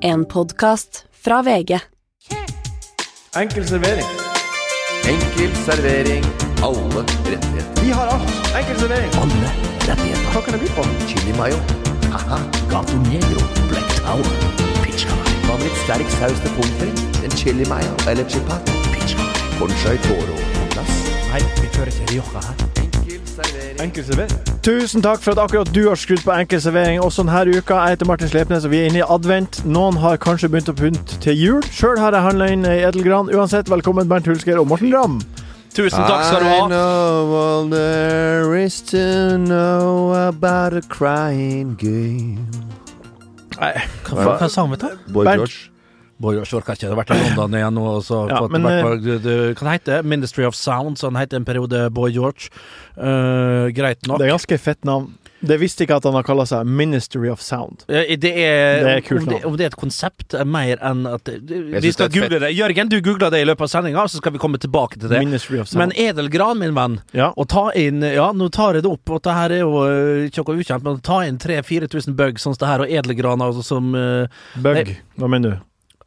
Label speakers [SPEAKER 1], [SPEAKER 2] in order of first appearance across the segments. [SPEAKER 1] En podkast fra VG.
[SPEAKER 2] Enkel servering.
[SPEAKER 3] Enkel servering. Alle rettigheter.
[SPEAKER 2] Vi har alt. Enkel servering.
[SPEAKER 3] Alle rettigheter.
[SPEAKER 2] Hva kan det by på?
[SPEAKER 3] Chili mayo. Haha. Gato negro. Black tower. Pizza. Hva med litt sterk saus til pommes frites? En chili mayo eller chipat? Pizza. Conchai toro på plass.
[SPEAKER 4] Nei, vi fører til Rioja her.
[SPEAKER 3] Enkel servering.
[SPEAKER 2] Enkel servering. Tusen takk for at akkurat du har skrudd på Enkel servering også denne uka. Jeg heter Martin Slepnes, og vi er inne i advent. Noen har kanskje begynt å pynte til jul. Sjøl har jeg handla inn i edelgran. Uansett, velkommen Bernt Hulsker og Morten Ramm.
[SPEAKER 5] Tusen takk skal du
[SPEAKER 3] I
[SPEAKER 5] ha.
[SPEAKER 3] know all there is to know about a crying game.
[SPEAKER 4] Hva, hva, hva sa han, vet du?
[SPEAKER 3] Boy
[SPEAKER 2] Bernt.
[SPEAKER 3] George.
[SPEAKER 4] Borg Åsjord har ikke vært i London igjen nå. og Så
[SPEAKER 2] Ja,
[SPEAKER 4] fått
[SPEAKER 2] men,
[SPEAKER 4] vært på, du, du, hva det heter Ministry of Sound, så han heter en periode Boy George. Eh, greit nok.
[SPEAKER 2] Det er ganske fett navn. Det visste ikke at han har kalla seg Ministry of Sound.
[SPEAKER 4] Eh, Det er,
[SPEAKER 2] Det er kult
[SPEAKER 4] om, det,
[SPEAKER 2] navn.
[SPEAKER 4] om det er et konsept, er mer enn at det- det- Vi
[SPEAKER 3] synes det
[SPEAKER 4] skal
[SPEAKER 3] er et
[SPEAKER 4] google det. Jørgen, du googler det i løpet av sendinga, så skal vi komme tilbake til det.
[SPEAKER 2] Ministry of
[SPEAKER 4] Men
[SPEAKER 2] Sound.
[SPEAKER 4] edelgran, min venn,
[SPEAKER 2] Ja.
[SPEAKER 4] å ta inn Ja, nå tar jeg det opp, og det her er jo eh, ikke noe ukjent, men å ta inn 3000-4000 bug sånn som det her, og edelgran altså, som eh,
[SPEAKER 2] Bug. Hva mener du?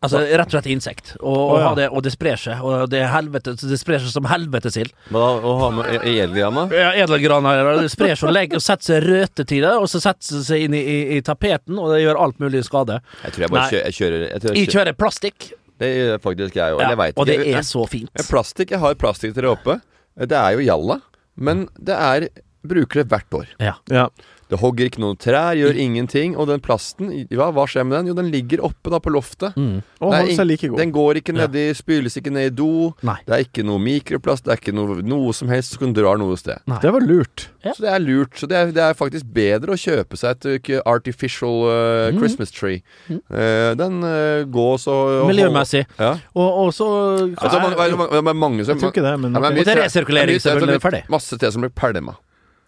[SPEAKER 4] Altså rett og slett insekt. Og, og,
[SPEAKER 2] Å, ja.
[SPEAKER 4] ha det, og det sprer seg. Og det, er helvete, det sprer seg som helvetesild.
[SPEAKER 5] Hva å ha med Elgrana?
[SPEAKER 4] Ja, Edelgraner og det sprer seg og legger, og setter seg røte til det, og så setter det seg inn i, i, i tapeten, og det gjør alt mulig skade.
[SPEAKER 5] Jeg tror jeg bare
[SPEAKER 4] Nei.
[SPEAKER 5] kjører, jeg kjører, jeg tror
[SPEAKER 4] I
[SPEAKER 5] jeg kjører.
[SPEAKER 4] kjører plastikk,
[SPEAKER 5] Det gjør faktisk jeg òg.
[SPEAKER 4] ja,
[SPEAKER 5] Jeg veit
[SPEAKER 4] og det
[SPEAKER 5] ikke.
[SPEAKER 4] er så fint.
[SPEAKER 5] Jeg- Eh, Plastikk, Jeg har plastikk til det oppe. Eh, Det er jo jalla. Men det er bruker det hvert år.
[SPEAKER 2] Ja.
[SPEAKER 5] Det hogger ikke noen trær, gjør ingenting. Og den plasten, ja, hva skjer med den? Jo, den ligger oppe da på
[SPEAKER 2] Og
[SPEAKER 5] loftet. Det er
[SPEAKER 2] holder
[SPEAKER 5] ing-
[SPEAKER 2] seg like god.
[SPEAKER 5] Den går ikke nedi, spyles ikke ned i do.
[SPEAKER 4] Nei.
[SPEAKER 5] Det er ikke noe mikroplast, det er ikke noe, noe som helst som drar noe sted.
[SPEAKER 2] Det var lurt.
[SPEAKER 5] Så det er lurt. Så det er, det er faktisk bedre å kjøpe seg et uh, k- artificial uh,
[SPEAKER 2] Mm.
[SPEAKER 5] Christmas tree. Eh, den uh, gås og
[SPEAKER 4] Miljømessig.
[SPEAKER 5] Ja.
[SPEAKER 4] Og, og så
[SPEAKER 5] Altså, man, man, man, det er mange som
[SPEAKER 2] Jeg tror ikke det, men
[SPEAKER 5] Ja, men
[SPEAKER 2] ok.
[SPEAKER 5] mye
[SPEAKER 4] Og det er
[SPEAKER 5] tre- det
[SPEAKER 4] resirkulering,
[SPEAKER 5] mye tre
[SPEAKER 4] så
[SPEAKER 5] som
[SPEAKER 4] blir det
[SPEAKER 5] blir-
[SPEAKER 4] ferdig.
[SPEAKER 5] Masse tre som blir pælma.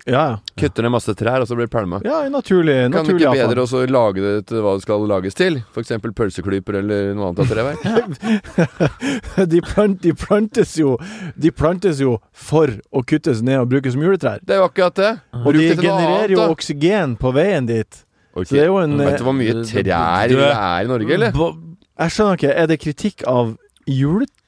[SPEAKER 2] Ja, ja.
[SPEAKER 5] Kutter ned masse trær, og så blir det pælma.
[SPEAKER 2] Ja, naturlig,
[SPEAKER 5] Kan du
[SPEAKER 2] naturlig
[SPEAKER 5] ikke
[SPEAKER 2] avfall.
[SPEAKER 5] bedre også lage det til hva det skal lages til? F.eks. pølseklyper eller noe annet av treverk?
[SPEAKER 2] de, plant, de, plantes jo, de plantes jo for å kuttes ned og brukes som juletrær.
[SPEAKER 5] Det er jo akkurat det.
[SPEAKER 2] Og
[SPEAKER 5] Bruk
[SPEAKER 2] de
[SPEAKER 5] det til noe annet,
[SPEAKER 2] genererer jo
[SPEAKER 5] da.
[SPEAKER 2] oksygen på veien dit.
[SPEAKER 5] Ok.
[SPEAKER 2] Så det er jo en
[SPEAKER 5] Vet du
[SPEAKER 2] eh,
[SPEAKER 5] hvor mye trær
[SPEAKER 4] Du-
[SPEAKER 5] det er i Norge, eller?
[SPEAKER 4] Bo-
[SPEAKER 2] Jeg skjønner ikke, er det kritikk av juletrær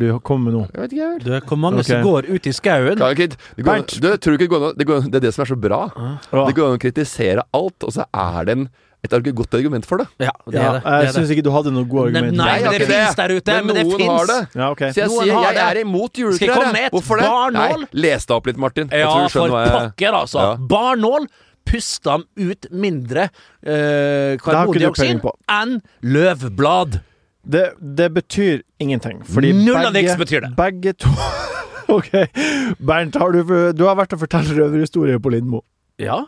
[SPEAKER 2] du kommer med nå?
[SPEAKER 5] Jeg vet ikke, jeg vel.
[SPEAKER 4] Du, hvor mange
[SPEAKER 2] Ok.
[SPEAKER 4] som går ut i skauen?
[SPEAKER 5] Kan ikke, det, går, an-
[SPEAKER 2] Bernt.
[SPEAKER 5] du, tror du ikke det, går an, å- det, går, an- det er det som er så bra. Det går an å kritisere alt, og så er det en, et argu- godt argument for det.
[SPEAKER 4] Ja,
[SPEAKER 2] Ja,
[SPEAKER 4] det er det. det,
[SPEAKER 2] jeg
[SPEAKER 4] er det.
[SPEAKER 2] syns ikke du hadde noe god
[SPEAKER 4] Nei,
[SPEAKER 2] argument.
[SPEAKER 4] nei,
[SPEAKER 5] Jeg
[SPEAKER 4] men
[SPEAKER 5] har
[SPEAKER 4] det
[SPEAKER 5] ikke
[SPEAKER 4] finnes der ute, men det
[SPEAKER 5] noen har
[SPEAKER 4] finnes.
[SPEAKER 5] det.
[SPEAKER 2] Ja, ok.
[SPEAKER 5] Så jeg
[SPEAKER 4] Noen
[SPEAKER 5] sier
[SPEAKER 4] har
[SPEAKER 5] jeg
[SPEAKER 4] det.
[SPEAKER 5] er imot
[SPEAKER 4] Skal jeg komme
[SPEAKER 5] juletrær.
[SPEAKER 4] med
[SPEAKER 5] jeg.
[SPEAKER 4] et
[SPEAKER 5] Hvorfor det?
[SPEAKER 4] barnål?
[SPEAKER 5] Nei, les deg opp litt, Martin. Jeg
[SPEAKER 4] Ja,
[SPEAKER 5] tror du
[SPEAKER 4] for
[SPEAKER 5] skjønner hva jeg
[SPEAKER 4] pokker, altså!
[SPEAKER 5] Ja.
[SPEAKER 4] Barnål puster dem ut mindre
[SPEAKER 2] har
[SPEAKER 4] eh,
[SPEAKER 2] ikke du peiling
[SPEAKER 4] karbondioksid
[SPEAKER 2] på.
[SPEAKER 4] enn løvblad.
[SPEAKER 2] Det, det betyr ingenting. Fordi
[SPEAKER 4] Null
[SPEAKER 2] begge,
[SPEAKER 4] av niks betyr det.
[SPEAKER 2] Begge to Ok, Bernt, har du, du har vært og fortalt røverhistorier på Lindmo.
[SPEAKER 4] Ja,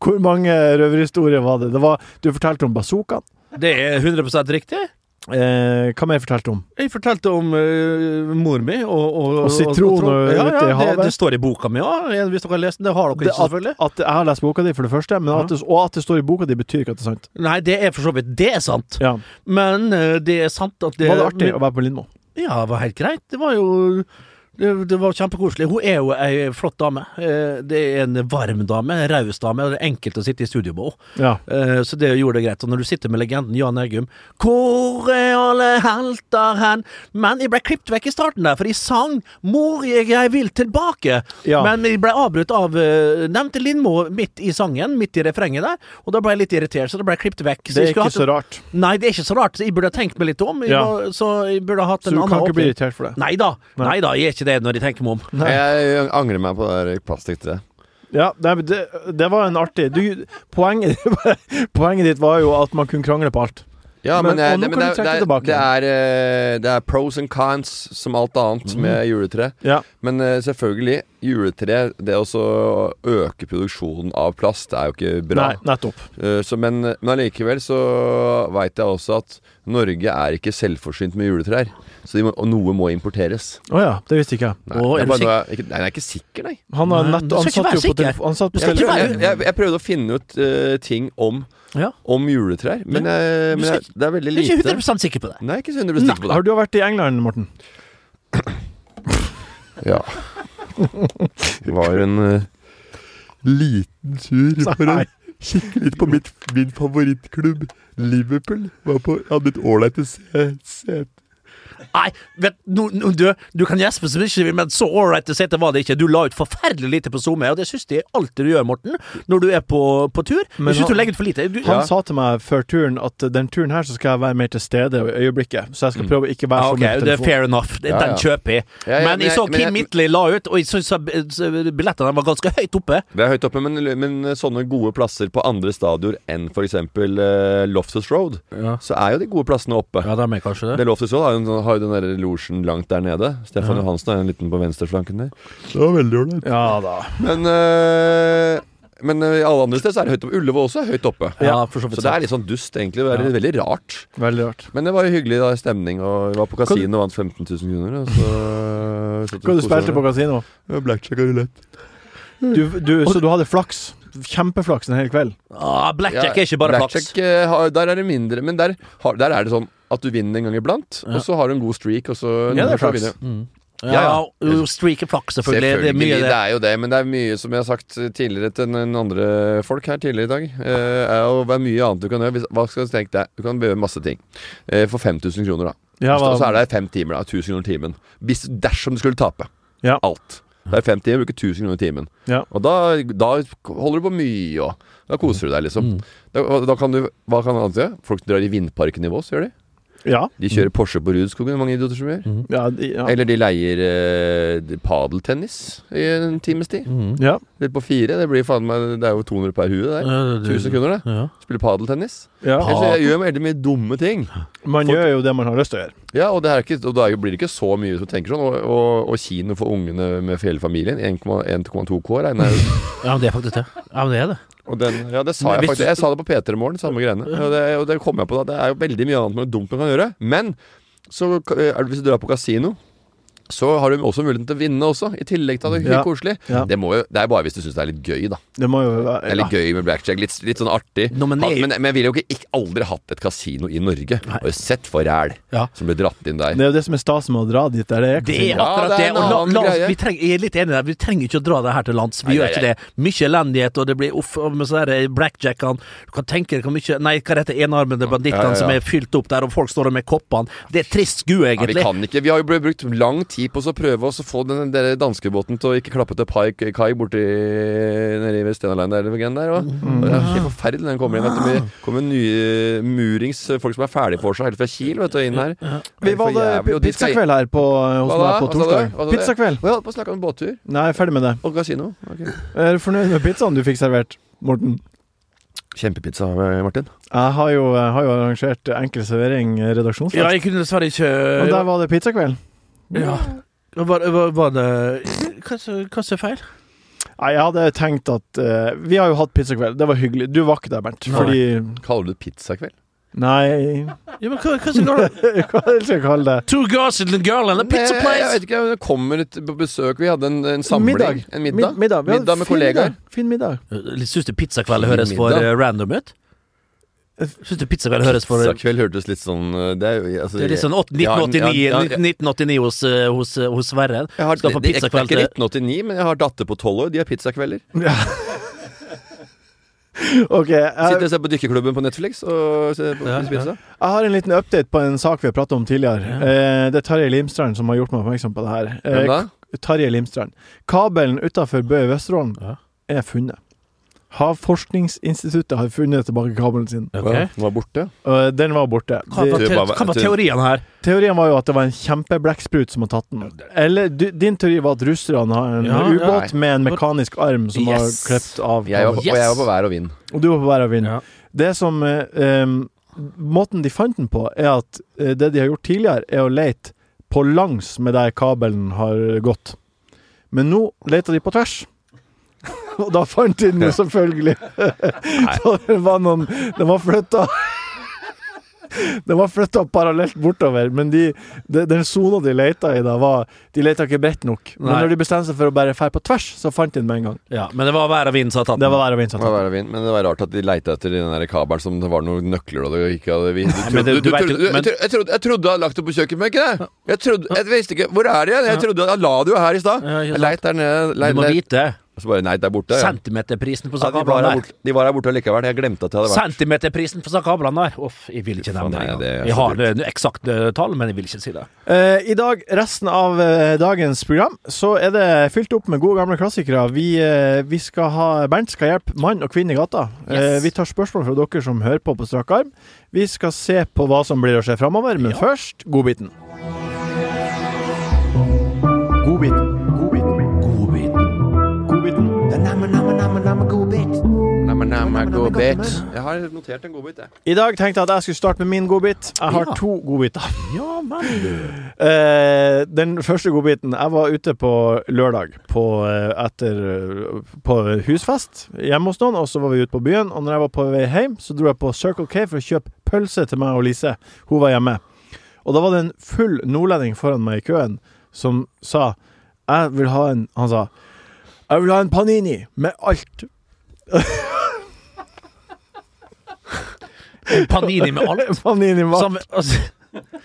[SPEAKER 2] Hvor mange røverhistorier var det? det var, du fortalte om bazookaen.
[SPEAKER 4] det er 100 riktig.
[SPEAKER 2] Eh, hva mer fortalte du om?
[SPEAKER 4] Jeg fortalte om eh, mor mi og
[SPEAKER 2] Og sitron og- ute
[SPEAKER 4] ja,
[SPEAKER 2] i
[SPEAKER 4] ja, det,
[SPEAKER 2] havet.
[SPEAKER 4] det står i boka mi òg, hvis dere har lest den. Det har dere
[SPEAKER 2] Det
[SPEAKER 4] ikke,
[SPEAKER 2] at,
[SPEAKER 4] selvfølgelig.
[SPEAKER 2] at jeg har lest boka di, for det første, men at det, og at det står i boka di, betyr ikke at det er sant.
[SPEAKER 4] Nei, det er for så vidt Det er sant.
[SPEAKER 2] Ja.
[SPEAKER 4] Men eh, det er sant at det
[SPEAKER 2] Var det artig å være på Lindmo?
[SPEAKER 4] Ja, det var helt greit. Det var jo det, det var kjempekoselig. Hun er jo ei flott dame. Eh, Det er en varm dame, en raus dame. og Det er enkelt å sitte i studio med henne.
[SPEAKER 2] Ja.
[SPEAKER 4] Eh, Så det gjorde det greit. Og når du sitter med legenden Jan Eggum Hvor er alle helter hen? Men jeg ble klippet vekk i starten der, for jeg sang 'Mor, jeg, jeg vil tilbake'.
[SPEAKER 2] Ja.
[SPEAKER 4] Men jeg ble avbrutt av eh, nevnte Lindmo midt i sangen, midt i refrenget der. Og da ble jeg litt irritert, så da ble jeg klippet vekk.
[SPEAKER 2] Det er
[SPEAKER 4] jeg
[SPEAKER 2] ikke
[SPEAKER 4] skulle hatt-
[SPEAKER 2] så rart.
[SPEAKER 4] Nei, det er ikke så rart. så Jeg burde ha tenkt meg litt om. Jeg
[SPEAKER 2] Ja.
[SPEAKER 4] var, så jeg burde ha hatt
[SPEAKER 2] Så
[SPEAKER 4] en
[SPEAKER 2] du
[SPEAKER 4] annen
[SPEAKER 2] kan ikke bli
[SPEAKER 4] åpning.
[SPEAKER 2] irritert for det.
[SPEAKER 4] Nei da,
[SPEAKER 2] Nei.
[SPEAKER 4] nei da, jeg er ikke det når jeg tenker meg om.
[SPEAKER 2] Nei.
[SPEAKER 5] Jeg angrer meg på det der plastikktreet.
[SPEAKER 2] Ja, nei, men det, det var en artig du, poenget, poenget ditt var jo at man kunne krangle på alt.
[SPEAKER 5] Ja, men,
[SPEAKER 2] Men-
[SPEAKER 5] jeg-
[SPEAKER 2] og nå
[SPEAKER 5] det, men
[SPEAKER 2] kan
[SPEAKER 5] det,
[SPEAKER 2] du
[SPEAKER 5] er-
[SPEAKER 2] trekke
[SPEAKER 5] det,
[SPEAKER 2] tilbake
[SPEAKER 5] er- det, er, eh, det er pros and cons som alt
[SPEAKER 4] Mhm.
[SPEAKER 5] annet med juletre.
[SPEAKER 2] Ja.
[SPEAKER 5] Men eh, selvfølgelig, juletre Det å så øke produksjonen av plast er jo ikke bra.
[SPEAKER 2] Nei, nettopp.
[SPEAKER 5] Eh, Så, men, men allikevel så veit jeg også at Norge er ikke selvforsynt med juletrær. Så de må, og noe må importeres.
[SPEAKER 2] Å ja, det visste ikke jeg.
[SPEAKER 5] Nei,
[SPEAKER 4] Å, er
[SPEAKER 5] jeg,
[SPEAKER 4] du
[SPEAKER 5] bare, nå er jeg, ikke, nei, jeg er ikke sikker, nei.
[SPEAKER 2] Han, har
[SPEAKER 4] Nei,
[SPEAKER 2] nett,
[SPEAKER 4] du skal
[SPEAKER 2] han
[SPEAKER 4] ikke
[SPEAKER 2] satt
[SPEAKER 4] være
[SPEAKER 2] jo på,
[SPEAKER 4] sikker.
[SPEAKER 2] telefo- han satt på
[SPEAKER 4] Du skal ikke
[SPEAKER 2] telefon.
[SPEAKER 4] være-
[SPEAKER 5] Jeg, jeg, jeg prøvde å finne ut eh, ting om,
[SPEAKER 4] Ja.
[SPEAKER 5] om juletrær, men, jeg, men jeg, det er veldig
[SPEAKER 4] Jeg er ikke
[SPEAKER 5] lite.
[SPEAKER 4] 100 sikker på det.
[SPEAKER 5] Nei, jeg er ikke så 100 sikker på det.
[SPEAKER 2] Har du vært i England, Morten?
[SPEAKER 5] Ja. Var en eh, liten tur for å
[SPEAKER 2] Nei.
[SPEAKER 6] kikke litt på mitt, min favorittklubb, Liverpool. Var på, hadde et ålreit se- sete.
[SPEAKER 4] Nei, vet, nå, nå, du, du kan gjespe som ikke vil, men så ålreit å se til var det ikke. Du la ut forferdelig lite på SoMe, og det syns de alltid du gjør, Morten, når du er på, på tur.
[SPEAKER 2] Men
[SPEAKER 4] Jeg syns
[SPEAKER 2] han-
[SPEAKER 4] du legger ut for lite. Du,
[SPEAKER 2] Han
[SPEAKER 5] Ja.
[SPEAKER 2] sa til meg før turen at den turen her så skal jeg være mer til stede i øyeblikket. Så jeg skal prøve å ikke
[SPEAKER 4] Ja,
[SPEAKER 2] være
[SPEAKER 4] Mm. Ah,
[SPEAKER 2] så
[SPEAKER 4] ok,
[SPEAKER 2] mye på
[SPEAKER 4] det er
[SPEAKER 2] telefonen.
[SPEAKER 4] fair enough. Den,
[SPEAKER 5] Ja, ja.
[SPEAKER 4] den kjøper jeg.
[SPEAKER 5] Ja, ja,
[SPEAKER 4] men
[SPEAKER 5] men
[SPEAKER 4] jeg så
[SPEAKER 5] jeg- men
[SPEAKER 4] Kim
[SPEAKER 5] jeg-
[SPEAKER 4] Midtley la ut, og jeg syns billettene var ganske høyt oppe.
[SPEAKER 5] Det er høyt oppe, men, men sånne gode plasser på andre stadioner enn f.eks. Uh, Loftus Road,
[SPEAKER 4] Ja.
[SPEAKER 5] så er jo de gode plassene oppe.
[SPEAKER 4] Ja, de er kanskje
[SPEAKER 5] Det Loftus Road har jo, en- sånn, har jo den der losjen langt der nede. Stefan Johansen har en liten på venstreflanken der.
[SPEAKER 6] Det var veldig ålreit.
[SPEAKER 2] Ja da.
[SPEAKER 5] Men, eh, men eh, alle andre steder så er det høyt oppe. Ullevål også er høyt oppe.
[SPEAKER 4] Ja, for så
[SPEAKER 5] Så
[SPEAKER 4] vidt.
[SPEAKER 5] det er litt sånn dust, egentlig. Det er
[SPEAKER 4] Ja.
[SPEAKER 5] veldig rart.
[SPEAKER 2] Veldig rart.
[SPEAKER 5] Men det var jo hyggelig da, stemning, og vi var på kasino og vant 15 000 kroner. Og så, så
[SPEAKER 2] Hva du spilte på kasino?
[SPEAKER 6] Ja, Blackjack og rulett.
[SPEAKER 2] Du, du, så du hadde flaks? Kjempeflaks en hel kveld.
[SPEAKER 4] Ah, blackjack er ikke bare flaks.
[SPEAKER 5] Blackjack, eh, har- Der er det mindre, men der, har, der er det sånn at du vinner en gang iblant, og så har du en god streak, og så
[SPEAKER 2] Ja, det er
[SPEAKER 5] så
[SPEAKER 2] flaks.
[SPEAKER 5] vinner du.
[SPEAKER 4] Ja,
[SPEAKER 5] ja.
[SPEAKER 4] jo, Streak er flaks, selvfølgelig.
[SPEAKER 5] Selvfølgelig, det er,
[SPEAKER 4] Det er mye det.
[SPEAKER 5] jo det, men det er mye som jeg har sagt tidligere til den andre folk her tidligere i dag. eh, er jo det er mye annet du kan gjøre. Hvis, hva skal du tenke deg? Du kan gjøre masse ting. Eh, for 5000 kroner, da.
[SPEAKER 2] Ja,
[SPEAKER 5] Og så
[SPEAKER 2] hva,
[SPEAKER 5] er det fem timer, da. 1000 kroner timen. Hvis, dersom du skulle tape
[SPEAKER 2] Ja.
[SPEAKER 5] alt. Det er fem timer, bruker 1000 kroner timen.
[SPEAKER 2] Ja.
[SPEAKER 5] Og da, da holder du på mye, og da koser du deg, liksom.
[SPEAKER 2] Mm.
[SPEAKER 5] Da, og da kan du, hva kan annet gjøre? Folk drar i vindparken i Vås, gjør de.
[SPEAKER 2] ja,
[SPEAKER 5] De kjører Porsche på Rudskogen, mange idioter som gjør.
[SPEAKER 2] Mm. ja, de- Mm. ja,
[SPEAKER 5] Eller de leier eh, padeltennis i en times tid.
[SPEAKER 2] ja.
[SPEAKER 5] Litt på fire, det blir faen meg Det er jo 200 per hue, det der.
[SPEAKER 4] Ja, det-
[SPEAKER 5] 1000 kroner, det.
[SPEAKER 4] Ja.
[SPEAKER 5] Spiller padeltennis.
[SPEAKER 2] ja.
[SPEAKER 5] Ellers jeg gjør veldig mye dumme ting.
[SPEAKER 2] Man gjør jo det man har lyst til å gjøre.
[SPEAKER 5] Ja, og, det er ikke, og da blir det ikke så mye som tenker sånn. Og, og, og kino for ungene med hele familien. 1,2K regner jeg ut.
[SPEAKER 4] ja, men det er faktisk det. Ja, men det er det.
[SPEAKER 5] Og den, ja, det sa
[SPEAKER 4] Men
[SPEAKER 5] jeg
[SPEAKER 4] hvis du-
[SPEAKER 5] faktisk. Jeg sa det på P3 Morgen, samme greiene. Og det, og det kom jeg på da. Det er jo veldig mye annet med dumt man kan gjøre. Men så ka- er det, hvis du drar på kasino så har du også muligheten til å vinne også, i tillegg til at det er
[SPEAKER 2] Ja.
[SPEAKER 5] ja. koselig.
[SPEAKER 2] Ja.
[SPEAKER 5] Det, må jo, det er bare hvis du syns det er litt gøy, da.
[SPEAKER 2] Det må jo være
[SPEAKER 5] Det er litt gøy med blackjack. Litt, litt sånn artig.
[SPEAKER 4] Nå, men
[SPEAKER 5] Ha-
[SPEAKER 4] det er jo-
[SPEAKER 5] men, men jeg ville jo ikke, ikke aldri hatt et kasino i Norge. Har jo sett for ræl
[SPEAKER 4] Ja.
[SPEAKER 5] som ble dratt inn der.
[SPEAKER 2] Det er jo det som er stas med å dra dit. Der det er
[SPEAKER 4] Det
[SPEAKER 2] kasino.
[SPEAKER 4] er
[SPEAKER 5] Ja,
[SPEAKER 4] akkurat
[SPEAKER 5] det
[SPEAKER 4] det.
[SPEAKER 5] er en
[SPEAKER 4] Og la,
[SPEAKER 5] annen
[SPEAKER 4] la oss,
[SPEAKER 5] greie.
[SPEAKER 4] vi trenger, jeg er litt enig der. Vi trenger ikke å dra det her til lands. Vi
[SPEAKER 5] Nei,
[SPEAKER 4] gjør
[SPEAKER 5] nei,
[SPEAKER 4] ikke det. Mye elendighet, og det blir uff og med sånne der blackjackene Du kan tenke deg hvor mye Nei, hva heter det, enarmede
[SPEAKER 5] Ja, ja, ja.
[SPEAKER 4] bandittene som er fylt opp der, og folk står der med koppene. Det er trist skue,
[SPEAKER 5] Ja, vi
[SPEAKER 4] egentlig.
[SPEAKER 5] kan ikke. Vi har jo br- brukt lang tid på oss å prøve oss å få den der danskebåten til å ikke klappe til pai, kai borti nede i Stenaline der. eller hvor gjen der og, og det er helt forferdelig når den kommer inn. Vet du. Det kommer nye eh, murings folk som er ferdig for seg helt fra Kiel vet du, inn her.
[SPEAKER 2] Vi var det
[SPEAKER 5] For jævlig, og de skal-
[SPEAKER 2] pizzakveld her på, hos meg på
[SPEAKER 5] Hva da? Hva sa du?
[SPEAKER 2] torsdag.
[SPEAKER 5] Hva sa du?
[SPEAKER 2] Pizzakveld.
[SPEAKER 5] Vi holdt på å snakke om båttur
[SPEAKER 2] Nei, jeg er ferdig med det.
[SPEAKER 5] og kasino. Ok.
[SPEAKER 2] Er du fornøyd med pizzaen du fikk servert, Morten?
[SPEAKER 5] Kjempepizza, eh, Martin.
[SPEAKER 2] Jeg har jo, jeg har jo arrangert enkel servering eh, redaksjonsfest.
[SPEAKER 4] Ja, jeg kunne dessverre ikke
[SPEAKER 2] og der var det pizzakveld.
[SPEAKER 4] ja. Var, var, var det Hva som hva som er feil?
[SPEAKER 2] Nei, jeg hadde tenkt at eh, Vi har jo hatt pizzakveld. Det var hyggelig. Du var ikke der, Bernt.
[SPEAKER 4] Nei.
[SPEAKER 2] Fordi
[SPEAKER 5] Kaller du det pizzakveld?
[SPEAKER 2] Nei
[SPEAKER 4] Ja, men hva, hva som går det?
[SPEAKER 2] Hva skal jeg kalle det?
[SPEAKER 4] Two girls and a girl and a
[SPEAKER 5] Nei,
[SPEAKER 4] pizza
[SPEAKER 5] Jeg
[SPEAKER 4] place!
[SPEAKER 5] vet ikke, det kommer et på besøk. Vi hadde en, en samling.
[SPEAKER 2] Middag.
[SPEAKER 5] En middag.
[SPEAKER 2] Mid- middag. Vi hadde
[SPEAKER 5] Middag med
[SPEAKER 2] fin
[SPEAKER 5] kollegaer.
[SPEAKER 2] middag. Fin middag.
[SPEAKER 4] Eh, Syns du pizzakveld høres for
[SPEAKER 5] Middag. Eh,
[SPEAKER 4] eh, random ut? Syns du pizzakveld høres for
[SPEAKER 5] Pizzakveld hørtes litt sånn eh, Det er, jo- altså,
[SPEAKER 4] Det er litt sånn åt-
[SPEAKER 5] Ja,
[SPEAKER 4] 1989,
[SPEAKER 5] ja, ja.
[SPEAKER 4] 1989 hos, eh, hos, eh, hos Sverre.
[SPEAKER 5] Jeg har, det,
[SPEAKER 4] Skal på
[SPEAKER 5] det, det er
[SPEAKER 4] pizzakveld
[SPEAKER 5] ikke
[SPEAKER 4] til
[SPEAKER 5] 1989, men jeg har datter på 12 år. De har pizzakvelder.
[SPEAKER 2] Ok,
[SPEAKER 5] Sitter
[SPEAKER 2] jeg,
[SPEAKER 5] og ser på Dykkerklubben på Netflix og ser på
[SPEAKER 4] Ja,
[SPEAKER 5] spiser pizza.
[SPEAKER 2] jeg har en liten update på en sak vi har pratet om tidligere. Eh, det er Tarjei Limstrand som har gjort meg oppmerksom på det her.
[SPEAKER 5] Hvem da?
[SPEAKER 2] Eh, K- Tarjei Limstrand. Kabelen utenfor Bø i Vesterålen
[SPEAKER 4] Ja.
[SPEAKER 2] er funnet. Havforskningsinstituttet har funnet tilbake kabelen sin.
[SPEAKER 5] Ja, den var borte.
[SPEAKER 2] Og den var borte.
[SPEAKER 4] Hva var,
[SPEAKER 2] De-
[SPEAKER 4] te hva var teorien her?
[SPEAKER 2] Teorien var jo at det var en kjempeblekksprut som har tatt den. Eller du, din teori var at russerne har en
[SPEAKER 4] Ja,
[SPEAKER 2] ubåt med en mekanisk arm som har
[SPEAKER 4] Yes.
[SPEAKER 2] klept av
[SPEAKER 5] Jeg var, på- Og
[SPEAKER 4] Yes.
[SPEAKER 5] jeg var på vær og vind.
[SPEAKER 2] Og du var på hver av vind.
[SPEAKER 4] Ja.
[SPEAKER 2] Det som eh, em, Måten de fant den på, er at eh, det de har gjort tidligere, er å lete på langs med der kabelen har gått. Men nå leter de på tvers. Og da fant de den jo selvfølgelig. Så det var noen Den var flytta Den var flytta parallelt bortover, men de, de, den sona de leita i da, var De leita ikke bredt nok. Men
[SPEAKER 4] Nei.
[SPEAKER 2] når de bestemte seg for å bare fære på tvers, så fant de den med en gang.
[SPEAKER 4] Ja, men det var vær og vind som hadde tatt
[SPEAKER 2] Det
[SPEAKER 4] den.
[SPEAKER 2] var været og
[SPEAKER 5] Det var
[SPEAKER 2] vindsatt.
[SPEAKER 5] vær og vind. Men det var rart at de leita etter den der kabelen som det var noen nøkler og det ikke hadde vi. Du trodde-
[SPEAKER 4] men det-
[SPEAKER 5] du-
[SPEAKER 4] du
[SPEAKER 5] du
[SPEAKER 4] vet jo-
[SPEAKER 5] trodde- Jeg
[SPEAKER 4] men-
[SPEAKER 5] trodde- jeg trodde jeg trodde du hadde lagt det på kjøkkenbenken, jeg. Jeg trodde Jeg visste ikke Hvor er det igjen? Jeg trodde Jeg la det jo her i stad.
[SPEAKER 4] Ja, ikke
[SPEAKER 5] Jeg
[SPEAKER 4] sant.
[SPEAKER 5] leit der nede.
[SPEAKER 4] Du
[SPEAKER 5] Leit,
[SPEAKER 4] må
[SPEAKER 5] leit.
[SPEAKER 4] vite.
[SPEAKER 5] Og så bare Nei, det er borte. Ja.
[SPEAKER 4] Centimeterprisen på
[SPEAKER 5] Ja, de, var
[SPEAKER 4] sakablene
[SPEAKER 5] her
[SPEAKER 4] der.
[SPEAKER 5] borte, de var her borte likevel. Jeg glemte at de hadde vært
[SPEAKER 4] Centimeterprisen for sakablene der. Uff, jeg vil ikke
[SPEAKER 5] Faen,
[SPEAKER 4] nevne det.
[SPEAKER 5] nei,
[SPEAKER 4] engang.
[SPEAKER 5] det er så
[SPEAKER 4] Jeg har eh, eksakte tall, men jeg vil ikke si det.
[SPEAKER 2] Eh, I dag, resten av eh, dagens program, så er det fylt opp med gode gamle klassikere. Vi, eh, vi skal ha, Bernt skal hjelpe mann og kvinne i gata. Eh,
[SPEAKER 1] Yes.
[SPEAKER 2] vi tar spørsmål fra dere som hører på på strak arm. Vi skal se på hva som blir å skje framover, men først godbiten. Godbiten. Godbiten. Godbiten.
[SPEAKER 5] Namme, namme, godbit. Jeg har notert en godbit, jeg.
[SPEAKER 2] I dag tenkte jeg at jeg skulle starte med min godbit. Jeg har
[SPEAKER 4] Ja.
[SPEAKER 2] to godbiter.
[SPEAKER 4] Ja, men
[SPEAKER 2] Eh, den første godbiten Jeg var ute på lørdag på, eh, etter, eh, på husfest hjemme hos noen, og så var vi ute på byen. Og når jeg var på vei hjem, så dro jeg på Circle K for å kjøpe pølse til meg og Lise. Hun var hjemme. Og da var det en full nordlending foran meg i køen som sa Jeg vil ha en Han sa Jeg vil ha en panini med alt.
[SPEAKER 4] Panini med alt.
[SPEAKER 2] Panini med alt.
[SPEAKER 4] Som, altså,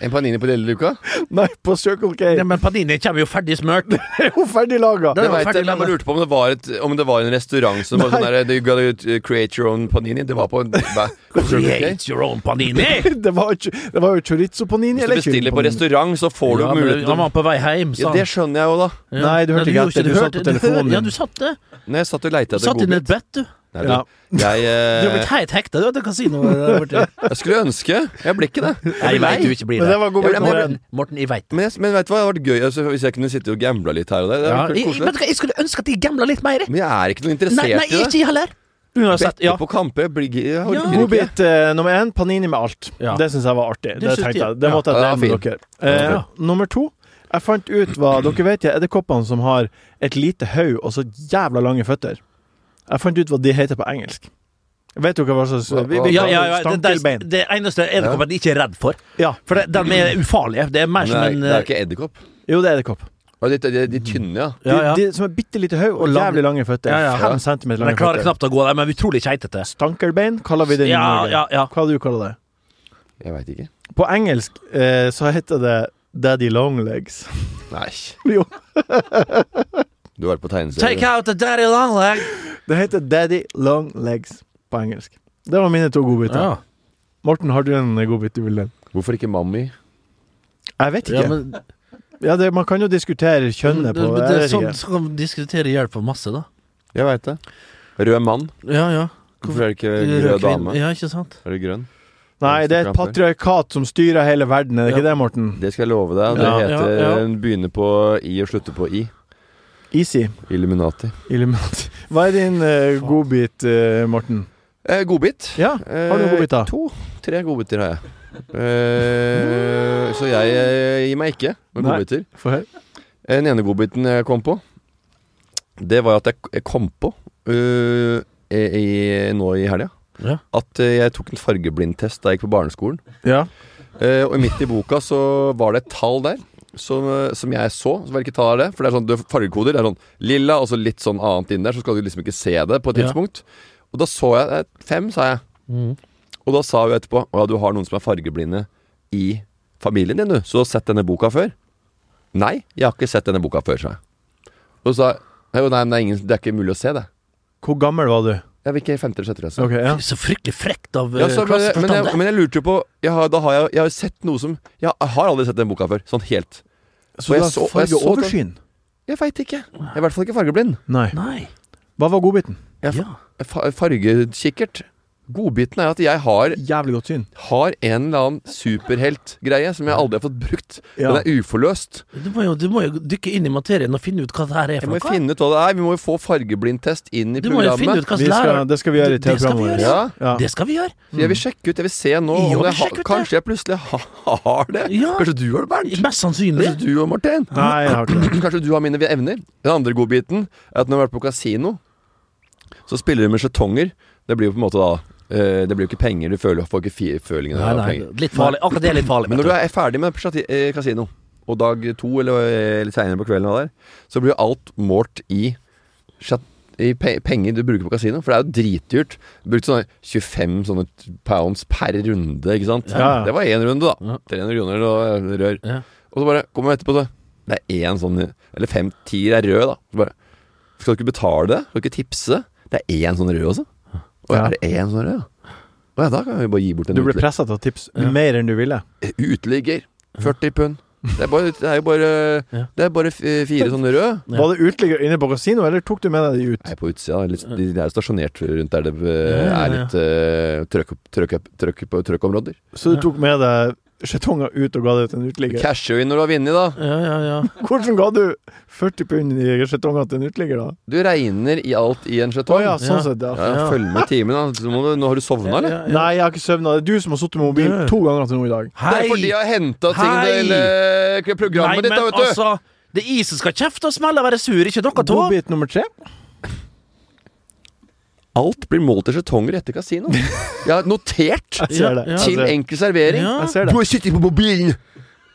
[SPEAKER 5] En panini på lille luka?
[SPEAKER 2] Nei, på Circle
[SPEAKER 4] ja,
[SPEAKER 2] K.
[SPEAKER 4] men Panini kommer jo ferdig smurt.
[SPEAKER 2] Det er jo ferdig laga.
[SPEAKER 4] Det
[SPEAKER 5] Jeg
[SPEAKER 4] var
[SPEAKER 5] vet
[SPEAKER 4] ferdig
[SPEAKER 5] det, men jeg bare
[SPEAKER 4] laget.
[SPEAKER 5] lurte på om det var, et, om det var en restaurant som var sånn der You gotta create your own panini. Det var på en hva? Circle K.
[SPEAKER 4] Create your own Panini!
[SPEAKER 2] Det var, jo- det var jo chorizo panini.
[SPEAKER 5] Hvis du bestiller på restaurant, så får du
[SPEAKER 4] Ja, men
[SPEAKER 5] muligheten
[SPEAKER 4] Han
[SPEAKER 5] til å
[SPEAKER 4] var på vei hjem, sa
[SPEAKER 5] ja,
[SPEAKER 4] han.
[SPEAKER 5] Det skjønner jeg jo, da.
[SPEAKER 4] Ja.
[SPEAKER 2] Nei, du hørte ikke
[SPEAKER 4] gjorde
[SPEAKER 2] etter. Du satt på
[SPEAKER 4] hørte- du
[SPEAKER 2] telefonen
[SPEAKER 4] hørte- Ja,
[SPEAKER 2] din.
[SPEAKER 4] du satt det.
[SPEAKER 5] Når jeg satt og leita
[SPEAKER 4] Du
[SPEAKER 5] etter
[SPEAKER 4] satt under
[SPEAKER 5] godbit
[SPEAKER 4] et bett, du.
[SPEAKER 5] Nei,
[SPEAKER 2] Ja.
[SPEAKER 5] du, jeg,
[SPEAKER 4] Du har blitt
[SPEAKER 5] eh,
[SPEAKER 4] helt hekta, du, at du kan si noe der borte.
[SPEAKER 5] jeg skulle ønske Jeg blir ikke det.
[SPEAKER 4] Nei, jeg vet du ikke blir
[SPEAKER 2] Men det
[SPEAKER 4] det.
[SPEAKER 2] var godbiten
[SPEAKER 5] Ja, men jeg
[SPEAKER 2] vår.
[SPEAKER 4] Morten, Morten, jeg veit.
[SPEAKER 5] Men, jeg, men vet du hva, det hadde vært gøy altså, hvis jeg kunne sitte og gambla litt her og der. Det hadde
[SPEAKER 4] Ja,
[SPEAKER 5] vært
[SPEAKER 4] jeg, jeg,
[SPEAKER 5] koselig.
[SPEAKER 4] vet du hva, jeg skulle ønske at de gambla litt mer.
[SPEAKER 5] Men jeg er ikke noe interessert
[SPEAKER 4] Nei,
[SPEAKER 5] i
[SPEAKER 4] nei
[SPEAKER 5] det.
[SPEAKER 4] ikke jeg heller. Uansett,
[SPEAKER 5] Bette
[SPEAKER 4] ja.
[SPEAKER 5] på kamper blir gi- Jeg orker
[SPEAKER 4] Ja.
[SPEAKER 5] ikke.
[SPEAKER 2] Godbit eh, nummer én, panini med alt.
[SPEAKER 4] Ja.
[SPEAKER 2] Det syns jeg var artig. Det,
[SPEAKER 4] synes
[SPEAKER 2] tenkte
[SPEAKER 4] jeg-
[SPEAKER 2] jeg. det
[SPEAKER 4] ja.
[SPEAKER 2] måtte jeg
[SPEAKER 5] Ja,
[SPEAKER 2] dele
[SPEAKER 5] det
[SPEAKER 2] med
[SPEAKER 5] var
[SPEAKER 2] dere. Eh,
[SPEAKER 4] Ja.
[SPEAKER 2] Nummer to. Jeg fant ut hva Dere vet de edderkoppene som har et lite hode og så jævla lange føtter? Jeg fant ut hva de heter på engelsk. Vet dere hva slags
[SPEAKER 5] Hva-
[SPEAKER 2] vi-
[SPEAKER 5] hva-
[SPEAKER 2] vi
[SPEAKER 4] Ja,
[SPEAKER 2] kaller
[SPEAKER 4] ja, ja, det, det,
[SPEAKER 2] stankelbein.
[SPEAKER 4] det eneste edderkoppen de ikke er redd for.
[SPEAKER 2] Ja.
[SPEAKER 4] For det, de er ufarlige. Det er mer som
[SPEAKER 5] Nei,
[SPEAKER 4] en
[SPEAKER 5] det er
[SPEAKER 4] eh,
[SPEAKER 5] ikke edderkopp.
[SPEAKER 2] Jo, det er edderkopp.
[SPEAKER 5] Og De, de, de tynne, ja.
[SPEAKER 2] De,
[SPEAKER 4] ja, ja.
[SPEAKER 2] de som har bitte lite hode og
[SPEAKER 4] Og lang-
[SPEAKER 2] jævlig lange føtter.
[SPEAKER 4] Ja, ja.
[SPEAKER 2] Fem centimeter
[SPEAKER 4] De
[SPEAKER 2] lange
[SPEAKER 4] klarer
[SPEAKER 2] føtter.
[SPEAKER 4] knapt å gå der, men utrolig keitete.
[SPEAKER 2] Stankelbein kaller vi det i
[SPEAKER 4] Ja,
[SPEAKER 2] Norge.
[SPEAKER 4] ja, ja.
[SPEAKER 2] Hva du kaller du det?
[SPEAKER 5] Jeg veit ikke.
[SPEAKER 2] På engelsk eh, så heter det Daddy Long Legs.
[SPEAKER 5] Nei.
[SPEAKER 2] jo.
[SPEAKER 5] Du har vært på
[SPEAKER 4] Take
[SPEAKER 5] tegneserie.
[SPEAKER 4] out the daddy long leg.
[SPEAKER 2] Det heter Daddy Long Legs på engelsk. Det var mine to godbiter.
[SPEAKER 4] Ja,
[SPEAKER 2] Morten, har du en godbit du vil dele?
[SPEAKER 5] Hvorfor ikke Mammi?
[SPEAKER 2] Jeg vet ikke.
[SPEAKER 4] ja
[SPEAKER 2] Ja,
[SPEAKER 4] men
[SPEAKER 2] det, man kan jo diskutere kjønnet på
[SPEAKER 4] men
[SPEAKER 2] jeg
[SPEAKER 4] det er
[SPEAKER 2] vet
[SPEAKER 4] sånn
[SPEAKER 2] ikke.
[SPEAKER 4] som kan diskutere hjelp for masse, da.
[SPEAKER 5] Jeg veit det. Rød mann.
[SPEAKER 4] Ja, ja.
[SPEAKER 5] Hvorfor er det ikke
[SPEAKER 4] Rød
[SPEAKER 5] rød Eh, dame?
[SPEAKER 4] Ja, ikke sant?
[SPEAKER 5] Er det grønn?
[SPEAKER 2] Nei, det er et patriarkat som styrer hele verden, er det ikke
[SPEAKER 4] Ja.
[SPEAKER 2] det, Morten?
[SPEAKER 5] Det skal jeg love deg. Det
[SPEAKER 4] Ja,
[SPEAKER 5] heter
[SPEAKER 4] ja, ja.
[SPEAKER 5] Den begynner på I og slutter på I.
[SPEAKER 2] Easy.
[SPEAKER 5] Illuminati.
[SPEAKER 2] Illuminati. Hva er din eh, godbit, eh, Morten?
[SPEAKER 5] Eh, godbit.
[SPEAKER 2] Ja, har du godbit, da?
[SPEAKER 5] Eh, to. Tre godbiter har jeg. Eh, så jeg eh, gir meg ikke med
[SPEAKER 2] Nei.
[SPEAKER 5] godbiter. Eh,
[SPEAKER 2] Få høre.
[SPEAKER 5] Den ene godbiten jeg kom på, det var at jeg, jeg kom på eh, i, i, nå i helga
[SPEAKER 4] Ja.
[SPEAKER 5] at eh, jeg tok en fargeblindtest da jeg gikk på barneskolen.
[SPEAKER 2] Ja.
[SPEAKER 5] Eh, og midt i boka så var det et tall der som, eh, som jeg så. Så var det ikke tall der, for det er sånn du har fargekoder. Det er sånn lilla og så litt sånn annet inn der, så skal du liksom ikke se det på et
[SPEAKER 4] Ja.
[SPEAKER 5] tidspunkt. Og da så jeg eh, fem, sa jeg. Og da sa hun etterpå Å ja, du har noen som er fargeblinde i familien din, du. Så du har sett denne boka før? Nei, jeg har ikke sett denne boka før, sa jeg. Og så sa jeg «Nei, jo, nei, men det er, ingen, det er ikke mulig å se det.
[SPEAKER 2] Hvor gammel var du?
[SPEAKER 5] Jeg vil ikke i femte eller sjette klasse.
[SPEAKER 2] Ok, ja.
[SPEAKER 4] Så fryktelig frekt av eh,
[SPEAKER 5] Ja, så, men, men, jeg,
[SPEAKER 4] klasseforstander.
[SPEAKER 5] men jeg lurte jo på jeg har, Da har jeg, jeg har sett noe som Jeg har aldri sett den boka før. Sånn helt.
[SPEAKER 2] Så
[SPEAKER 5] jeg
[SPEAKER 2] du har
[SPEAKER 5] så- og jeg så-
[SPEAKER 2] fargeoversyn?
[SPEAKER 5] Jeg veit ikke. Jeg er i hvert fall ikke fargeblind.
[SPEAKER 2] Nei.
[SPEAKER 4] Nei.
[SPEAKER 2] Hva var godbiten?
[SPEAKER 5] Jeg,
[SPEAKER 4] Ja.
[SPEAKER 5] fa- fargekikkert. Godbiten er at jeg har,
[SPEAKER 2] Jævlig godt syn.
[SPEAKER 5] har en eller annen superheltgreie som jeg aldri har fått brukt.
[SPEAKER 2] Ja.
[SPEAKER 5] Den er uforløst.
[SPEAKER 4] Du må, jo, du må jo dykke inn i materien og finne ut hva det her er
[SPEAKER 5] Jeg
[SPEAKER 4] for
[SPEAKER 5] må
[SPEAKER 4] noe.
[SPEAKER 5] jo finne ut hva det er. Vi må jo få fargeblindtest inn i
[SPEAKER 4] Du må jo finne
[SPEAKER 5] programmet.
[SPEAKER 4] ut hva
[SPEAKER 2] Vi
[SPEAKER 4] slags
[SPEAKER 2] skal,
[SPEAKER 4] lærer
[SPEAKER 2] det skal vi gjøre i
[SPEAKER 4] Det skal vi
[SPEAKER 2] TV-programmet vårt.
[SPEAKER 5] Ja,
[SPEAKER 2] Ja.
[SPEAKER 4] Det skal vi gjøre.
[SPEAKER 5] så Jeg vil sjekke ut, jeg vil se nå
[SPEAKER 4] Ja,
[SPEAKER 5] om
[SPEAKER 4] vi
[SPEAKER 5] jeg har-
[SPEAKER 4] sjekker ut det.
[SPEAKER 5] Kanskje jeg plutselig ha- har det.
[SPEAKER 4] Ja.
[SPEAKER 5] Kanskje du har det, Bernt.
[SPEAKER 4] Mest sannsynlig.
[SPEAKER 5] Kanskje du og Martin.
[SPEAKER 2] Nei, jeg har ikke det.
[SPEAKER 5] Kanskje du har mine evner. Den andre godbiten er at når du har vært på kasino, så spiller du med skjetonger. Det blir jo på en måte da eh, Det blir jo ikke penger. Du føler, får ikke fi- følingen
[SPEAKER 4] Nei,
[SPEAKER 5] av
[SPEAKER 4] nei,
[SPEAKER 5] penger.
[SPEAKER 4] litt farlig. Akkurat det er litt farlig.
[SPEAKER 5] Men når
[SPEAKER 4] vet
[SPEAKER 5] du er ferdig med skjati- eh, kasino, og dag to eller, eh, litt seinere på kvelden, og der, så blir jo alt målt i, skjat- i pe penger du bruker på kasino. For det er jo dritdyrt. Du brukte sånne 25 sånne pounds per runde, ikke sant.
[SPEAKER 2] Ja.
[SPEAKER 5] Det var én runde, da.
[SPEAKER 4] Ja.
[SPEAKER 5] 300 kroner og rør.
[SPEAKER 4] Ja.
[SPEAKER 5] Og så bare kommer vi etterpå, så. Det er én sånn Eller fem tier er rød, da. Så bare Skal du ikke betale det? Skal du ikke tipse? Det er én sånn rød også. Å ja,
[SPEAKER 2] Ja.
[SPEAKER 5] er det én sånn rød? ja? Å ja, da kan vi bare gi bort en
[SPEAKER 2] Du ble
[SPEAKER 5] utlig-
[SPEAKER 2] pressa til å tipse mer enn du ville.
[SPEAKER 5] uteligger. 40 pund. Det er, bare, det er jo bare
[SPEAKER 4] Ja.
[SPEAKER 5] Det er bare f- fire sånne røde.
[SPEAKER 4] Ja.
[SPEAKER 2] Var det uteligger inne på kasino, eller tok du med deg de ut?
[SPEAKER 5] Nei, på utsida. da. Litt, de, de er jo stasjonert rundt der det eh,
[SPEAKER 4] Ja, ja,
[SPEAKER 5] er
[SPEAKER 4] ja.
[SPEAKER 5] litt eh, trøkk, trøkk, trøkk, på trøkkområder.
[SPEAKER 2] Så du tok med deg skjetonger ut og ga det til en
[SPEAKER 5] Du
[SPEAKER 2] uteligger?
[SPEAKER 5] Casher jo inn når du har vunnet, da.
[SPEAKER 4] Ja, ja, ja.
[SPEAKER 2] Hvordan ga du 40 pund i skjetonger til en uteligger, da?
[SPEAKER 5] Du regner i alt i en
[SPEAKER 2] Å
[SPEAKER 5] skjetong.
[SPEAKER 2] ja, sånn
[SPEAKER 4] Ja.
[SPEAKER 2] sett, ja.
[SPEAKER 5] Ja,
[SPEAKER 4] Ja.
[SPEAKER 5] Følg med i timen, da. Så må du, nå har du sovna, eller?
[SPEAKER 2] Nei, jeg har ikke søvna. Det er du som har sittet med mobilen
[SPEAKER 4] Du.
[SPEAKER 2] to ganger til nå i dag.
[SPEAKER 5] Det er fordi jeg
[SPEAKER 4] Hei!
[SPEAKER 5] har henta ting
[SPEAKER 4] Hei!
[SPEAKER 5] til eh, programmet ditt, da, vet du.
[SPEAKER 4] altså Det er isen skal kjefte og smelle og være sur, ikke dere to.
[SPEAKER 2] Godbit nummer tre.
[SPEAKER 5] Alt blir målt i skjetonger etter kasino. Jeg har notert
[SPEAKER 2] Jeg ser
[SPEAKER 4] Ja,
[SPEAKER 2] det.
[SPEAKER 4] ja.
[SPEAKER 2] Jeg
[SPEAKER 5] til
[SPEAKER 2] ser det.
[SPEAKER 5] enkel servering.
[SPEAKER 4] Ja.
[SPEAKER 2] Jeg ser det.
[SPEAKER 5] sittet på mobilen!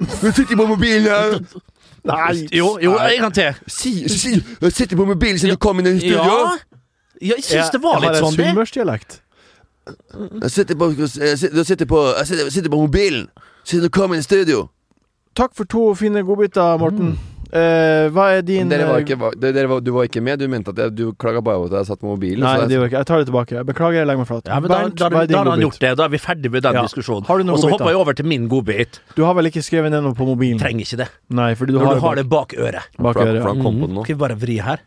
[SPEAKER 5] Du sitter på mobilen! ja.
[SPEAKER 2] Nei!
[SPEAKER 4] Jo, jo, en gang til.
[SPEAKER 5] Si, si, du sitter på mobilen siden du kom inn i
[SPEAKER 4] Ja. ja jeg syns det var litt
[SPEAKER 2] Jeg har en
[SPEAKER 4] sånn, det.
[SPEAKER 2] sunnmørsdialekt.
[SPEAKER 5] Jeg sitter på, jeg sitter, jeg sitter på, jeg sitter, jeg sitter på mobilen siden du kom inn i studio.
[SPEAKER 2] Takk for to fine godbiter,
[SPEAKER 4] Mm.
[SPEAKER 2] Morten. Eh, hva er din
[SPEAKER 5] Dere
[SPEAKER 2] eh,
[SPEAKER 5] var ikke, var, dere var, du var ikke med. Du mente at jeg, du klaga bare over at jeg satt på mobilen.
[SPEAKER 2] Nei,
[SPEAKER 5] så jeg-
[SPEAKER 2] det var ikke. jeg tar det tilbake. Jeg Beklager, jeg legger meg flat.
[SPEAKER 4] Ja, men da,
[SPEAKER 2] Bernt,
[SPEAKER 4] da,
[SPEAKER 2] hva
[SPEAKER 4] da,
[SPEAKER 2] er din
[SPEAKER 4] har han
[SPEAKER 2] godbit?
[SPEAKER 4] gjort det. Da er vi ferdig med den
[SPEAKER 2] Ja.
[SPEAKER 4] diskusjonen.
[SPEAKER 2] Har du noen
[SPEAKER 4] Og så
[SPEAKER 2] godbiter?
[SPEAKER 4] hopper jeg over til min godbit.
[SPEAKER 2] Du har vel ikke skrevet ned noe på mobilen?
[SPEAKER 4] Trenger ikke det.
[SPEAKER 2] Nei, fordi Mm. du
[SPEAKER 4] Når
[SPEAKER 2] har,
[SPEAKER 4] du har det bak øret.
[SPEAKER 2] bak, bak
[SPEAKER 5] for,
[SPEAKER 2] øret.
[SPEAKER 5] for
[SPEAKER 2] Ja.
[SPEAKER 5] han kom på den nå.
[SPEAKER 4] Mm. Skal vi bare vri her?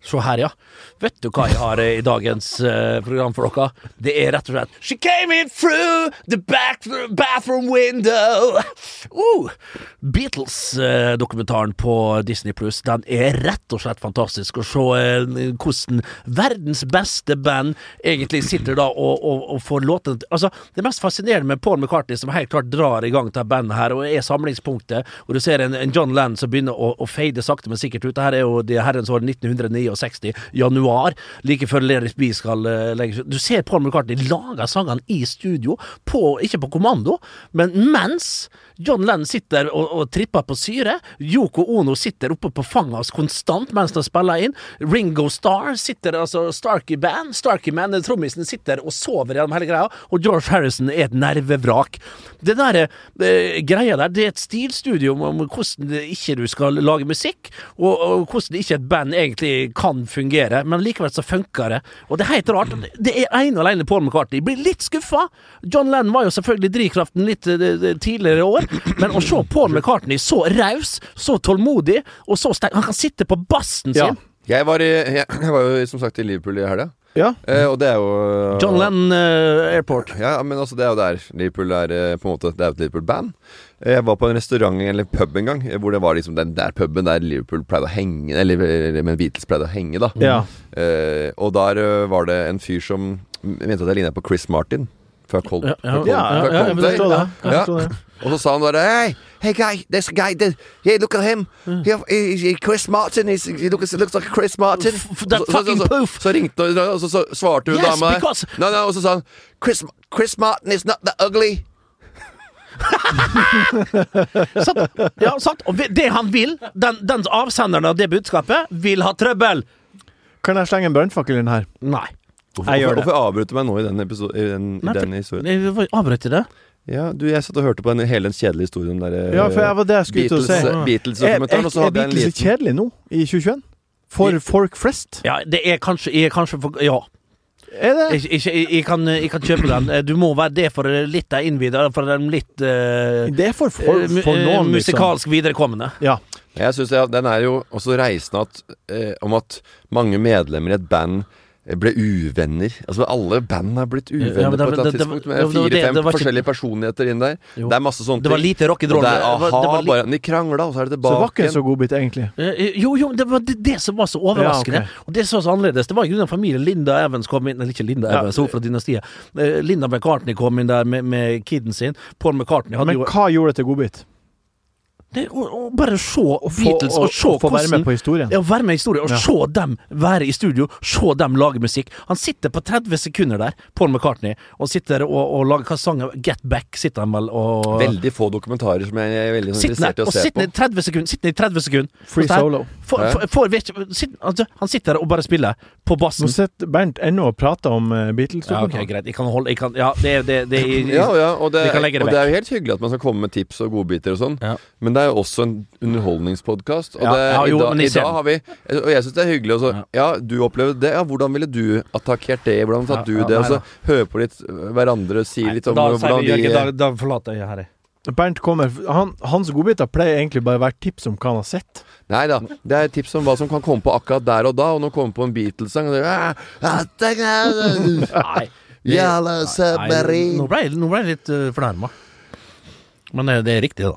[SPEAKER 4] Se her, ja. Vet du hva jeg har eh, i dagens eh, program for dere? Det er rett og slett She came in through the back bathroom window. Uh, Beatles-dokumentaren på Disney Pluss Den er rett og slett fantastisk. Å se eh, hvordan verdens beste band egentlig sitter da og, og, og får låtene til Altså, det mest fascinerende med Paul McCartney, som helt klart drar i gang dette bandet her, og er samlingspunktet, og du ser en, en John Lennon som begynner å, å fade sakte, men sikkert ut. Dette her er jo det herrens år 1969, januar, like før Lerris Bee skal eh, legges ut. Du ser Paul McCartney lage sangene i studio, på, ikke på kommando, men mens John Lennon sitter og, og tripper på syre, Yoko Ono sitter oppe på fanget hans konstant mens de spiller inn, Ringo Starr sitter altså Starkey Band, Starkey Man, eh, trommisen sitter og sover gjennom hele greia, og George Harrison er et nervevrak. Det der eh, greia der, det er et stilstudio om, om hvordan det ikke du skal lage musikk, og, og hvordan ikke et band egentlig kan fungere, men likevel så funker det. Og det er helt rart. Det er ene og alene Paul McCartney. Jeg Blir litt skuffa. John Lennon var jo selvfølgelig drivkraften litt eh, eh, tidligere i år, men å se Paul McCartney så raus, så tålmodig, og så sterk Han kan sitte på bassen
[SPEAKER 2] Ja.
[SPEAKER 4] sin.
[SPEAKER 5] Jeg var, i, jeg, jeg var jo som sagt i Liverpool i helga,
[SPEAKER 2] Ja.
[SPEAKER 5] eh, og det er jo
[SPEAKER 4] John Lennon eh, Airport.
[SPEAKER 5] Ja, men altså, det er jo der. Liverpool er eh, på en måte Det er jo et Liverpool-band. Eh, Jeg var på en restaurant eller pub en gang, eh, hvor det var liksom den der puben der Liverpool pleide å henge Eller eh, men Beatles pleide å henge,
[SPEAKER 4] Mm.
[SPEAKER 5] da.
[SPEAKER 2] ja.
[SPEAKER 5] Eh, og der eh, var det en fyr som m- mente at jeg ligna på Chris Martin. Fra Cold,
[SPEAKER 4] Ja, ja,
[SPEAKER 5] fra Cold,
[SPEAKER 2] Ja,
[SPEAKER 5] fra
[SPEAKER 4] ja, ja,
[SPEAKER 5] Coldplay.
[SPEAKER 2] Jeg forstår det. Jeg
[SPEAKER 5] Ja.
[SPEAKER 2] forstår det.
[SPEAKER 5] Og så sa han bare Hey, hey guy, there's a guy there. Yeah, look at him. He, he, he, Chris Martin. He's, he looks, looks like Chris Martin.
[SPEAKER 4] F- f-
[SPEAKER 5] Og
[SPEAKER 4] that
[SPEAKER 5] så- så-
[SPEAKER 4] fucking
[SPEAKER 5] så- så-
[SPEAKER 4] poof.
[SPEAKER 5] Så ringte hun, og så, så svarte hun
[SPEAKER 4] Yes,
[SPEAKER 5] dama der.
[SPEAKER 4] because-
[SPEAKER 5] Nei, nei, Og så sa han Chris, Chris Martin is not that ugly.
[SPEAKER 4] sant? Ja, sant? Og vi- det han vil, den, den avsenderen av det budskapet, vil ha trøbbel.
[SPEAKER 2] Kan jeg slenge en brannfakkel inn her?
[SPEAKER 4] Nei.
[SPEAKER 2] Jeg gjør det.
[SPEAKER 5] Hvorfor avbrøt du meg nå i den, episo- i den, i
[SPEAKER 4] Nei, for- Eh,
[SPEAKER 5] den historien?
[SPEAKER 4] Jeg avbrøt det.
[SPEAKER 5] Ja, du, Jeg satt og hørte på den, hele den kjedelige historien om den der,
[SPEAKER 2] Ja, for jeg var det jeg skulle til å si.
[SPEAKER 5] Beatles-
[SPEAKER 2] Er, er,
[SPEAKER 5] Beatles-dokumentaren. og så
[SPEAKER 2] er
[SPEAKER 5] hadde jeg en
[SPEAKER 2] Beatles litt
[SPEAKER 5] liten
[SPEAKER 2] kjedelig nå, i 2021? For folk flest?
[SPEAKER 4] Ja, det er kanskje, jeg er kanskje for, Ja.
[SPEAKER 2] Er det?
[SPEAKER 4] Jeg, jeg, jeg, jeg, kan, jeg kan kjøpe den. Eh, Du må være det for litt av innvidere, for den litt eh,
[SPEAKER 2] Det er for, for,
[SPEAKER 4] eh, mu-
[SPEAKER 2] for
[SPEAKER 4] eh,
[SPEAKER 2] noen, liksom.
[SPEAKER 4] musikalsk viderekommende.
[SPEAKER 2] Ja.
[SPEAKER 5] Jeg synes det- Den er jo også reisende at, eh, om at mange medlemmer i et band eh, ble uvenner. Altså Alle band har blitt uvenner
[SPEAKER 4] Ja, men det-
[SPEAKER 5] på et eller annet
[SPEAKER 4] det- det-
[SPEAKER 5] tidspunkt.
[SPEAKER 4] det-
[SPEAKER 5] Med
[SPEAKER 4] det var det-
[SPEAKER 5] fire-fem
[SPEAKER 4] det var ikke-
[SPEAKER 5] forskjellige personligheter inn der.
[SPEAKER 4] Jo.
[SPEAKER 5] Det er masse sånne
[SPEAKER 4] Det var
[SPEAKER 5] ting.
[SPEAKER 4] lite rock'n'roll.
[SPEAKER 5] Og det er aha,
[SPEAKER 4] Det var- det var litt-
[SPEAKER 5] bare De krangla, og så er
[SPEAKER 2] Så
[SPEAKER 5] det
[SPEAKER 2] det var
[SPEAKER 5] tilbake
[SPEAKER 2] ikke en
[SPEAKER 5] igjen.
[SPEAKER 2] så godbit, egentlig.
[SPEAKER 4] Eh, Jo, jo, det var det, det som var så overraskende.
[SPEAKER 2] Ja,
[SPEAKER 4] Og det som var så annerledes, det var i grunnen at familien Linda Evans kom inn Eller ikke Linda
[SPEAKER 2] Ja.
[SPEAKER 4] Evans, hun fra dynastiet. Eh, Linda McCartney kom inn der med, med kiden sin. Paul McCartney hadde
[SPEAKER 2] Men
[SPEAKER 4] jo
[SPEAKER 2] hva gjorde det til godbit?
[SPEAKER 4] det, å, å Bare se
[SPEAKER 2] Få-
[SPEAKER 4] Beatles, og,
[SPEAKER 2] å-
[SPEAKER 4] se
[SPEAKER 2] å Få være
[SPEAKER 4] hvordan
[SPEAKER 2] med på historien.
[SPEAKER 4] ja, være med i historien, og
[SPEAKER 2] Ja.
[SPEAKER 4] se dem være i studio, se dem lage musikk. Han sitter på 30 sekunder der, Paul McCartney, og sitter og, og lager hva sangen Get Back sitter han vel og
[SPEAKER 5] Veldig få dokumentarer som jeg er veldig sånn
[SPEAKER 4] Sitter
[SPEAKER 5] interessert
[SPEAKER 4] der,
[SPEAKER 5] i å
[SPEAKER 4] og
[SPEAKER 5] se
[SPEAKER 4] sitter
[SPEAKER 5] på.
[SPEAKER 4] i 30 sekunder, sitter i 30 sekunder.
[SPEAKER 2] Free
[SPEAKER 4] Sånn her.
[SPEAKER 2] solo.
[SPEAKER 4] Får-
[SPEAKER 5] Ja.
[SPEAKER 4] får- får virke- sitter- altså, han sitter der og bare spiller på
[SPEAKER 2] Nå
[SPEAKER 4] bassen.
[SPEAKER 2] sitter Bernt ennå og prater om eh, Beatles.
[SPEAKER 4] Ja, ok, greit. Jeg kan holde jeg kan, Ja, det er det, det, er-
[SPEAKER 5] Ja, ja, og det,
[SPEAKER 4] Vi kan legge det
[SPEAKER 5] og det er jo helt hyggelig at man skal komme med tips og godbiter og sånn,
[SPEAKER 4] Ja.
[SPEAKER 5] men det er jo også en underholdningspodkast. Og
[SPEAKER 4] Ja,
[SPEAKER 5] det,
[SPEAKER 4] ja, jo,
[SPEAKER 5] i, dag,
[SPEAKER 4] men i
[SPEAKER 5] i dag
[SPEAKER 4] scenen.
[SPEAKER 5] har vi Og jeg syns det er hyggelig også.
[SPEAKER 4] Ja.
[SPEAKER 5] Ja. du opplevde det. Ja, hvordan ville du attakkert det? Hvordan tatt
[SPEAKER 4] Ja,
[SPEAKER 5] du
[SPEAKER 4] ja,
[SPEAKER 5] det?
[SPEAKER 4] nei
[SPEAKER 5] Og så høre på litt øh, hverandre si
[SPEAKER 4] Nei,
[SPEAKER 5] litt om
[SPEAKER 4] da,
[SPEAKER 5] øh,
[SPEAKER 4] sier
[SPEAKER 5] hvordan
[SPEAKER 4] vi, Jørgen, da,
[SPEAKER 5] de
[SPEAKER 4] da forlater jeg her. jeg.
[SPEAKER 2] Bernt kommer han, Hans godbiter pleier egentlig bare å være tips om hva han har sett.
[SPEAKER 5] Nei da. Det er et tips om hva som kan komme på akkurat der og da. Og nå kommer på en Beatles-sang, og det er, «Ah, attack, ah,
[SPEAKER 4] Nei.
[SPEAKER 5] Yellow
[SPEAKER 4] Nei,
[SPEAKER 5] submarine
[SPEAKER 4] nå ble jeg- nå ble jeg litt uh, fornærma. Men eh, det er riktig, da.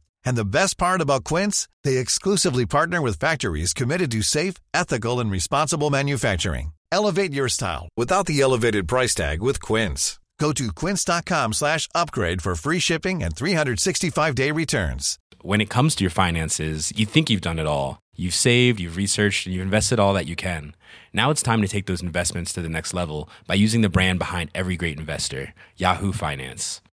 [SPEAKER 7] And the best part about Quince, they exclusively partner with factories committed to safe, ethical, and responsible manufacturing. Elevate your style without the elevated price tag with Quince. Go to quince.com slash upgrade for free shipping and 365-day returns.
[SPEAKER 8] when it comes to your finances, you think you've done it all. You've saved, you've researched, and you've invested all that you can. Now it's time to take those investments to the next level by using the brand behind every great investor, Yahoo Finance.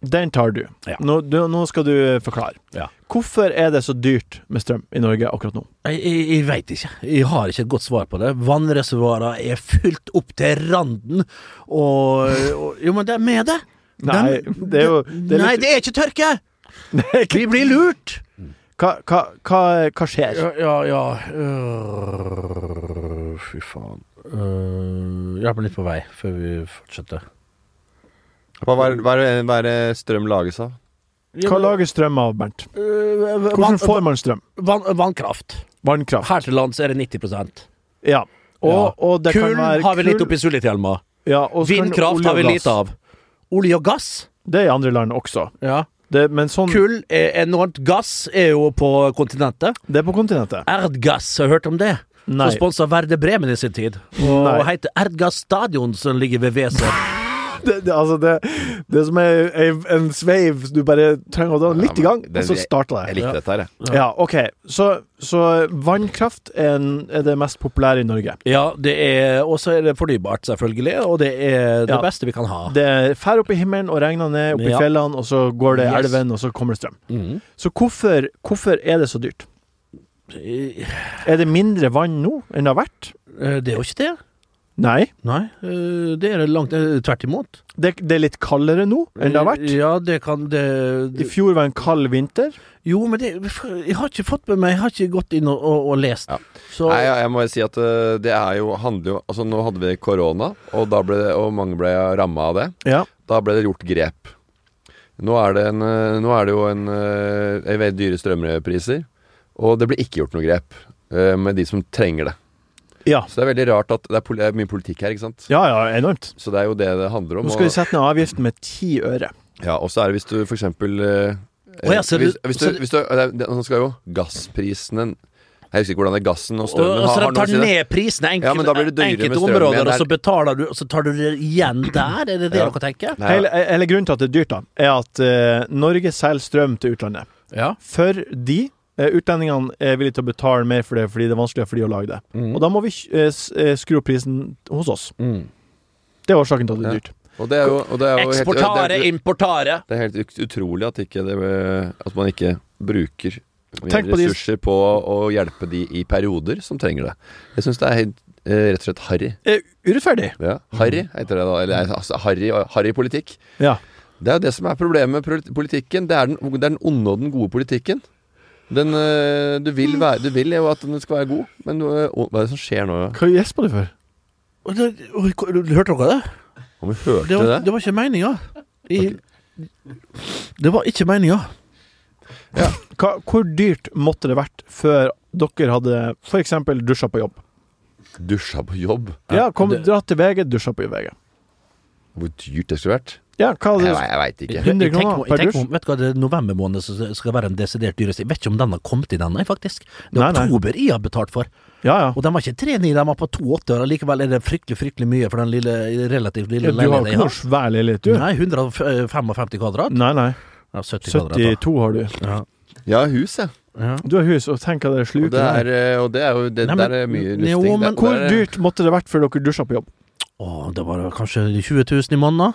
[SPEAKER 2] den tar du.
[SPEAKER 4] Ja.
[SPEAKER 2] Nå, du. nå skal du eh, forklare.
[SPEAKER 4] Ja.
[SPEAKER 2] Hvorfor er det så dyrt med strøm i Norge akkurat nå?
[SPEAKER 4] Jeg, jeg, jeg veit ikke. Jeg har ikke et godt svar på det. Vannreservoarer er fylt opp til randen, og, og Jo, men det er med det.
[SPEAKER 2] Nei,
[SPEAKER 4] Dem-
[SPEAKER 2] det er jo- det er
[SPEAKER 4] Nei,
[SPEAKER 2] litt-
[SPEAKER 4] det er ikke tørke! Vi blir lurt!
[SPEAKER 2] Hva, hva, hva, hva skjer?
[SPEAKER 4] Ja, ja, ja. Øh, Fy faen. Øh, Hjelp meg litt på vei før vi fortsetter.
[SPEAKER 5] Hva er det strøm lages av?
[SPEAKER 2] Hva lager strøm av, Bernt?
[SPEAKER 4] Øh,
[SPEAKER 2] Hvordan
[SPEAKER 4] vann-
[SPEAKER 2] får man strøm?
[SPEAKER 4] vann, Vannkraft.
[SPEAKER 2] Vannkraft.
[SPEAKER 4] Her til lands er det 90
[SPEAKER 2] Ja. Og, og det
[SPEAKER 4] Kull
[SPEAKER 2] kan være
[SPEAKER 4] har vi litt
[SPEAKER 2] kull-
[SPEAKER 4] oppi Sulitjelma.
[SPEAKER 2] ja, og så kan
[SPEAKER 4] Vindkraft
[SPEAKER 2] olje
[SPEAKER 4] har vi
[SPEAKER 2] og
[SPEAKER 4] lite
[SPEAKER 2] gass.
[SPEAKER 4] av. Olje og gass.
[SPEAKER 2] Det er i andre land også.
[SPEAKER 4] Ja.
[SPEAKER 2] Det, men sånn
[SPEAKER 4] Kull er enormt. Gass er jo på kontinentet.
[SPEAKER 2] Det er på kontinentet.
[SPEAKER 4] Erdgass, har du hørt om det?
[SPEAKER 2] Nei.
[SPEAKER 4] Som sponsa Verde Bremen i sin tid. Og
[SPEAKER 2] Nei.
[SPEAKER 4] heter Erdgass Stadion, som ligger ved WC.
[SPEAKER 2] Det, det, altså det, det som er en- en sveiv du bare trenger å dra litt i gang,
[SPEAKER 5] men
[SPEAKER 2] og
[SPEAKER 5] det-
[SPEAKER 2] så starter
[SPEAKER 5] Jeg
[SPEAKER 2] det.
[SPEAKER 5] likte dette her, jeg.
[SPEAKER 2] Ja, OK. Så, så vannkraft er, en, er det mest populære i Norge.
[SPEAKER 4] Ja, det er Og så er det fornybart, selvfølgelig. Og det er det
[SPEAKER 2] Ja.
[SPEAKER 4] beste vi kan ha.
[SPEAKER 2] Det fær opp i himmelen og regner ned opp i
[SPEAKER 4] Ja.
[SPEAKER 2] fjellene, og så går det i
[SPEAKER 4] Yes.
[SPEAKER 2] elven, og så kommer det strøm.
[SPEAKER 4] Mhm.
[SPEAKER 2] Så hvorfor, hvorfor er det så dyrt?
[SPEAKER 4] Eh,
[SPEAKER 2] Er det mindre vann nå enn det har vært?
[SPEAKER 4] Det er jo ikke det.
[SPEAKER 2] Nei.
[SPEAKER 4] Nei, eh, det er det langt eh, Tvert imot. Eh,
[SPEAKER 2] Det, det er litt kaldere nå enn det har vært.
[SPEAKER 4] Ja, det kan det,
[SPEAKER 2] I fjor var en kald vinter.
[SPEAKER 4] Jo, men det, jeg har ikke fått med meg Jeg har ikke gått inn og, og, og lest.
[SPEAKER 5] Ja.
[SPEAKER 4] Så
[SPEAKER 5] Nei, jeg, jeg må jo si at øh, det er jo, handler jo Altså Nå hadde vi korona, og, da ble det, og mange ble ramma av det.
[SPEAKER 2] Ja.
[SPEAKER 5] Da ble det gjort grep. Nå er det, en, øh, nå er det jo en, øh, en veldig dyre strømpriser, og det ble ikke gjort noe grep øh, med de som trenger det.
[SPEAKER 2] Ja,
[SPEAKER 5] Så det er veldig rart at det er, pol det er mye politikk her, ikke sant.
[SPEAKER 2] ja, ja enormt.
[SPEAKER 5] Så det er jo det det handler om.
[SPEAKER 2] Nå skal vi
[SPEAKER 5] Og,
[SPEAKER 2] sette ned avgiften med ti øre.
[SPEAKER 5] ja, og så er det hvis du for eksempel øh,
[SPEAKER 4] Å ja, så du-
[SPEAKER 5] hvis, hvis du,
[SPEAKER 4] så du-
[SPEAKER 5] hvis du, det, er- det, Nå skal jo gassprisene Jeg husker ikke hvordan det er gassen og
[SPEAKER 4] Og,
[SPEAKER 5] strømmen
[SPEAKER 4] og så
[SPEAKER 5] har-
[SPEAKER 4] de
[SPEAKER 5] har noe å
[SPEAKER 4] tar
[SPEAKER 5] si, det.
[SPEAKER 4] ned prisene enkelte,
[SPEAKER 5] Ja, men da blir det dyrere med
[SPEAKER 4] enkelte
[SPEAKER 5] strøm
[SPEAKER 4] områder,
[SPEAKER 5] igjen
[SPEAKER 4] og så
[SPEAKER 5] her.
[SPEAKER 4] betaler du, og så tar du det igjen der? Er det det
[SPEAKER 5] Ja.
[SPEAKER 4] dere tenker?
[SPEAKER 5] Nei,
[SPEAKER 2] Hele, hele grunnen til at det er dyrt, da, er at eh, Norge selger strøm til utlandet.
[SPEAKER 4] Ja.
[SPEAKER 2] Fordi eh, utlendingene er villige til å betale mer for det fordi det er vanskeligere for de å lage det. Og da må vi eh, s- eh, skru opp prisen hos oss. Det er årsaken til at det er
[SPEAKER 5] Ja.
[SPEAKER 2] dyrt.
[SPEAKER 5] Og det er jo, og det er jo helt-
[SPEAKER 4] Eksportare,
[SPEAKER 5] det er-
[SPEAKER 4] importare.
[SPEAKER 5] Det er helt ut- utrolig at, ikke det, at man ikke bruker mer
[SPEAKER 2] Tenk på de-
[SPEAKER 5] ressurser på å hjelpe de i perioder som trenger det. Jeg syns det er helt, eh, rett og slett harry.
[SPEAKER 2] Eh, urettferdig.
[SPEAKER 5] Ja. Harry heter det da. Eller altså, harry, harry politikk.
[SPEAKER 2] Ja.
[SPEAKER 5] Det er jo det som er problemet med poli- politikken. Det er den, det er den onde og den gode politikken. Den, eh, du, vil være, du vil jo at den skal være god, men eh, å, hva er det som skjer nå?
[SPEAKER 2] Hva gjesper du for?
[SPEAKER 4] Og det- oi, ko- Hørte dere det?
[SPEAKER 5] Om vi hørte
[SPEAKER 4] Det
[SPEAKER 5] det?
[SPEAKER 4] var, det var ikke meninga. I- Det var ikke meninga.
[SPEAKER 2] Hva, hvor dyrt måtte det vært før dere hadde f.eks. dusja på jobb?
[SPEAKER 5] Dusja på jobb.
[SPEAKER 2] Ja, kom,
[SPEAKER 4] det-
[SPEAKER 2] dra til VG, dusja på VG.
[SPEAKER 5] Hvor dyrt det skulle vært.
[SPEAKER 2] Ja, hva
[SPEAKER 4] Altså-
[SPEAKER 2] er
[SPEAKER 5] Jeg, ve-
[SPEAKER 2] det?
[SPEAKER 5] jeg veit ikke.
[SPEAKER 2] 100
[SPEAKER 4] Jeg tenker
[SPEAKER 2] kroner
[SPEAKER 4] om- jeg
[SPEAKER 2] per
[SPEAKER 4] tenker
[SPEAKER 2] dusj?
[SPEAKER 4] om- Vet du hva, det er november måned som skal være den desidert dyreste. Jeg vet ikke om den har kommet i den, nei, faktisk. Det
[SPEAKER 2] Nei,
[SPEAKER 4] er
[SPEAKER 2] nei.
[SPEAKER 4] oktober jeg har betalt for.
[SPEAKER 2] Ja, ja.
[SPEAKER 4] Og den var ikke 3,9, den var på 2,80, og likevel er det fryktelig, fryktelig mye for den lille, relativt lille
[SPEAKER 2] Ja, Du har
[SPEAKER 4] leiligheten
[SPEAKER 2] ikke
[SPEAKER 4] jeg
[SPEAKER 2] noe
[SPEAKER 4] har.
[SPEAKER 2] svær leilighet, du?
[SPEAKER 4] Nei, 155 kvadrat.
[SPEAKER 2] Nei, nei.
[SPEAKER 4] Ja, 70 kvadrat. da.
[SPEAKER 2] 72 har du.
[SPEAKER 5] Jeg har hus, jeg.
[SPEAKER 2] Du har hus, og tenk at det
[SPEAKER 5] Og
[SPEAKER 2] sluker
[SPEAKER 5] det er, eh, og det er jo det,
[SPEAKER 4] Nei, men-
[SPEAKER 5] Der er mye
[SPEAKER 4] Jo,
[SPEAKER 5] rusting.
[SPEAKER 4] men
[SPEAKER 5] Der-
[SPEAKER 2] Hvor
[SPEAKER 5] der er-
[SPEAKER 2] dyrt måtte det vært før dere dusja på jobb?
[SPEAKER 4] Å, det var kanskje 20 000 i måneden?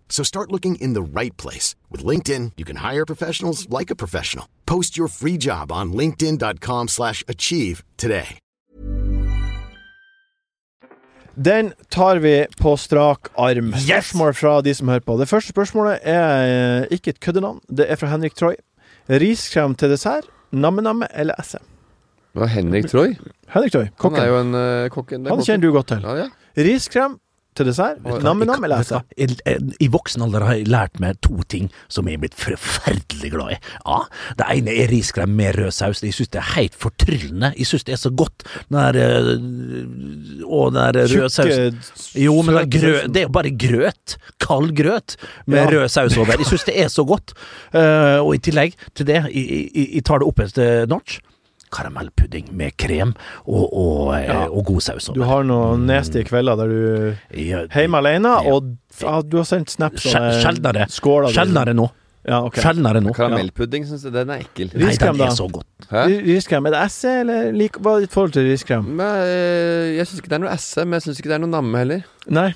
[SPEAKER 9] So start looking in the right place. With LinkedIn, you can hire professionals like a professional. Post your free job on linkedin.com/achieve slash achieve today.
[SPEAKER 2] Den tar vi på strak arm. Spørsmål fra de som hører på. Det første spørsmålet er eh, ikke et køddenavn. Det er fra Henrik Troy. Riskrem til dessert, namme-namme eller esse?
[SPEAKER 5] Det var Henrik Troy.
[SPEAKER 2] Henrik Troy,
[SPEAKER 5] Han er
[SPEAKER 2] kokken.
[SPEAKER 5] jo en uh, kokken.
[SPEAKER 2] Han kjenner du godt til.
[SPEAKER 5] Ja, ja.
[SPEAKER 2] Riskrem til dessert,
[SPEAKER 5] Oi.
[SPEAKER 2] namme-namme eller altså?
[SPEAKER 4] Vet du
[SPEAKER 2] esse?
[SPEAKER 4] hva? Jeg- jeg- I voksen alder har jeg lært meg to ting som jeg er blitt forferdelig glad i. Ja, Det ene er riskrem med rød saus. Jeg syns det er helt fortryllende. Jeg syns det er så godt. Den der, øh, og den der røde
[SPEAKER 2] eh,
[SPEAKER 4] sausen jo, men det er, grø det er jo bare grøt. Kald grøt med
[SPEAKER 2] Ja.
[SPEAKER 4] rød saus over. Jeg syns det er så godt. Eh, og i tillegg til det, jeg, jeg, jeg tar det opp et eh, notch. Karamellpudding med krem og, og, eh, og god saus
[SPEAKER 2] Du
[SPEAKER 4] over.
[SPEAKER 2] har noen nasty kvelder der du
[SPEAKER 4] Jeg-
[SPEAKER 2] Hjemme alene,
[SPEAKER 4] Ja.
[SPEAKER 2] og ja, du har sendt snaps
[SPEAKER 4] Sjel- Sjeldnere.
[SPEAKER 2] Skåla di.
[SPEAKER 4] Sjeldnere nå.
[SPEAKER 2] Ja, ok.
[SPEAKER 4] Sjeldnere nå.
[SPEAKER 5] Karamellpudding, syns jeg. Den er ekkel.
[SPEAKER 4] Nei,
[SPEAKER 2] Riskrem,
[SPEAKER 4] den
[SPEAKER 2] da?
[SPEAKER 4] er så godt.
[SPEAKER 5] Hæ?
[SPEAKER 2] Ri- Riskrem, er det esse, eller lik, hva er ditt forhold til riskrem?
[SPEAKER 5] Men, eh, jeg syns ikke det er noe esse, men jeg syns ikke det er noe namme heller.
[SPEAKER 2] Nei.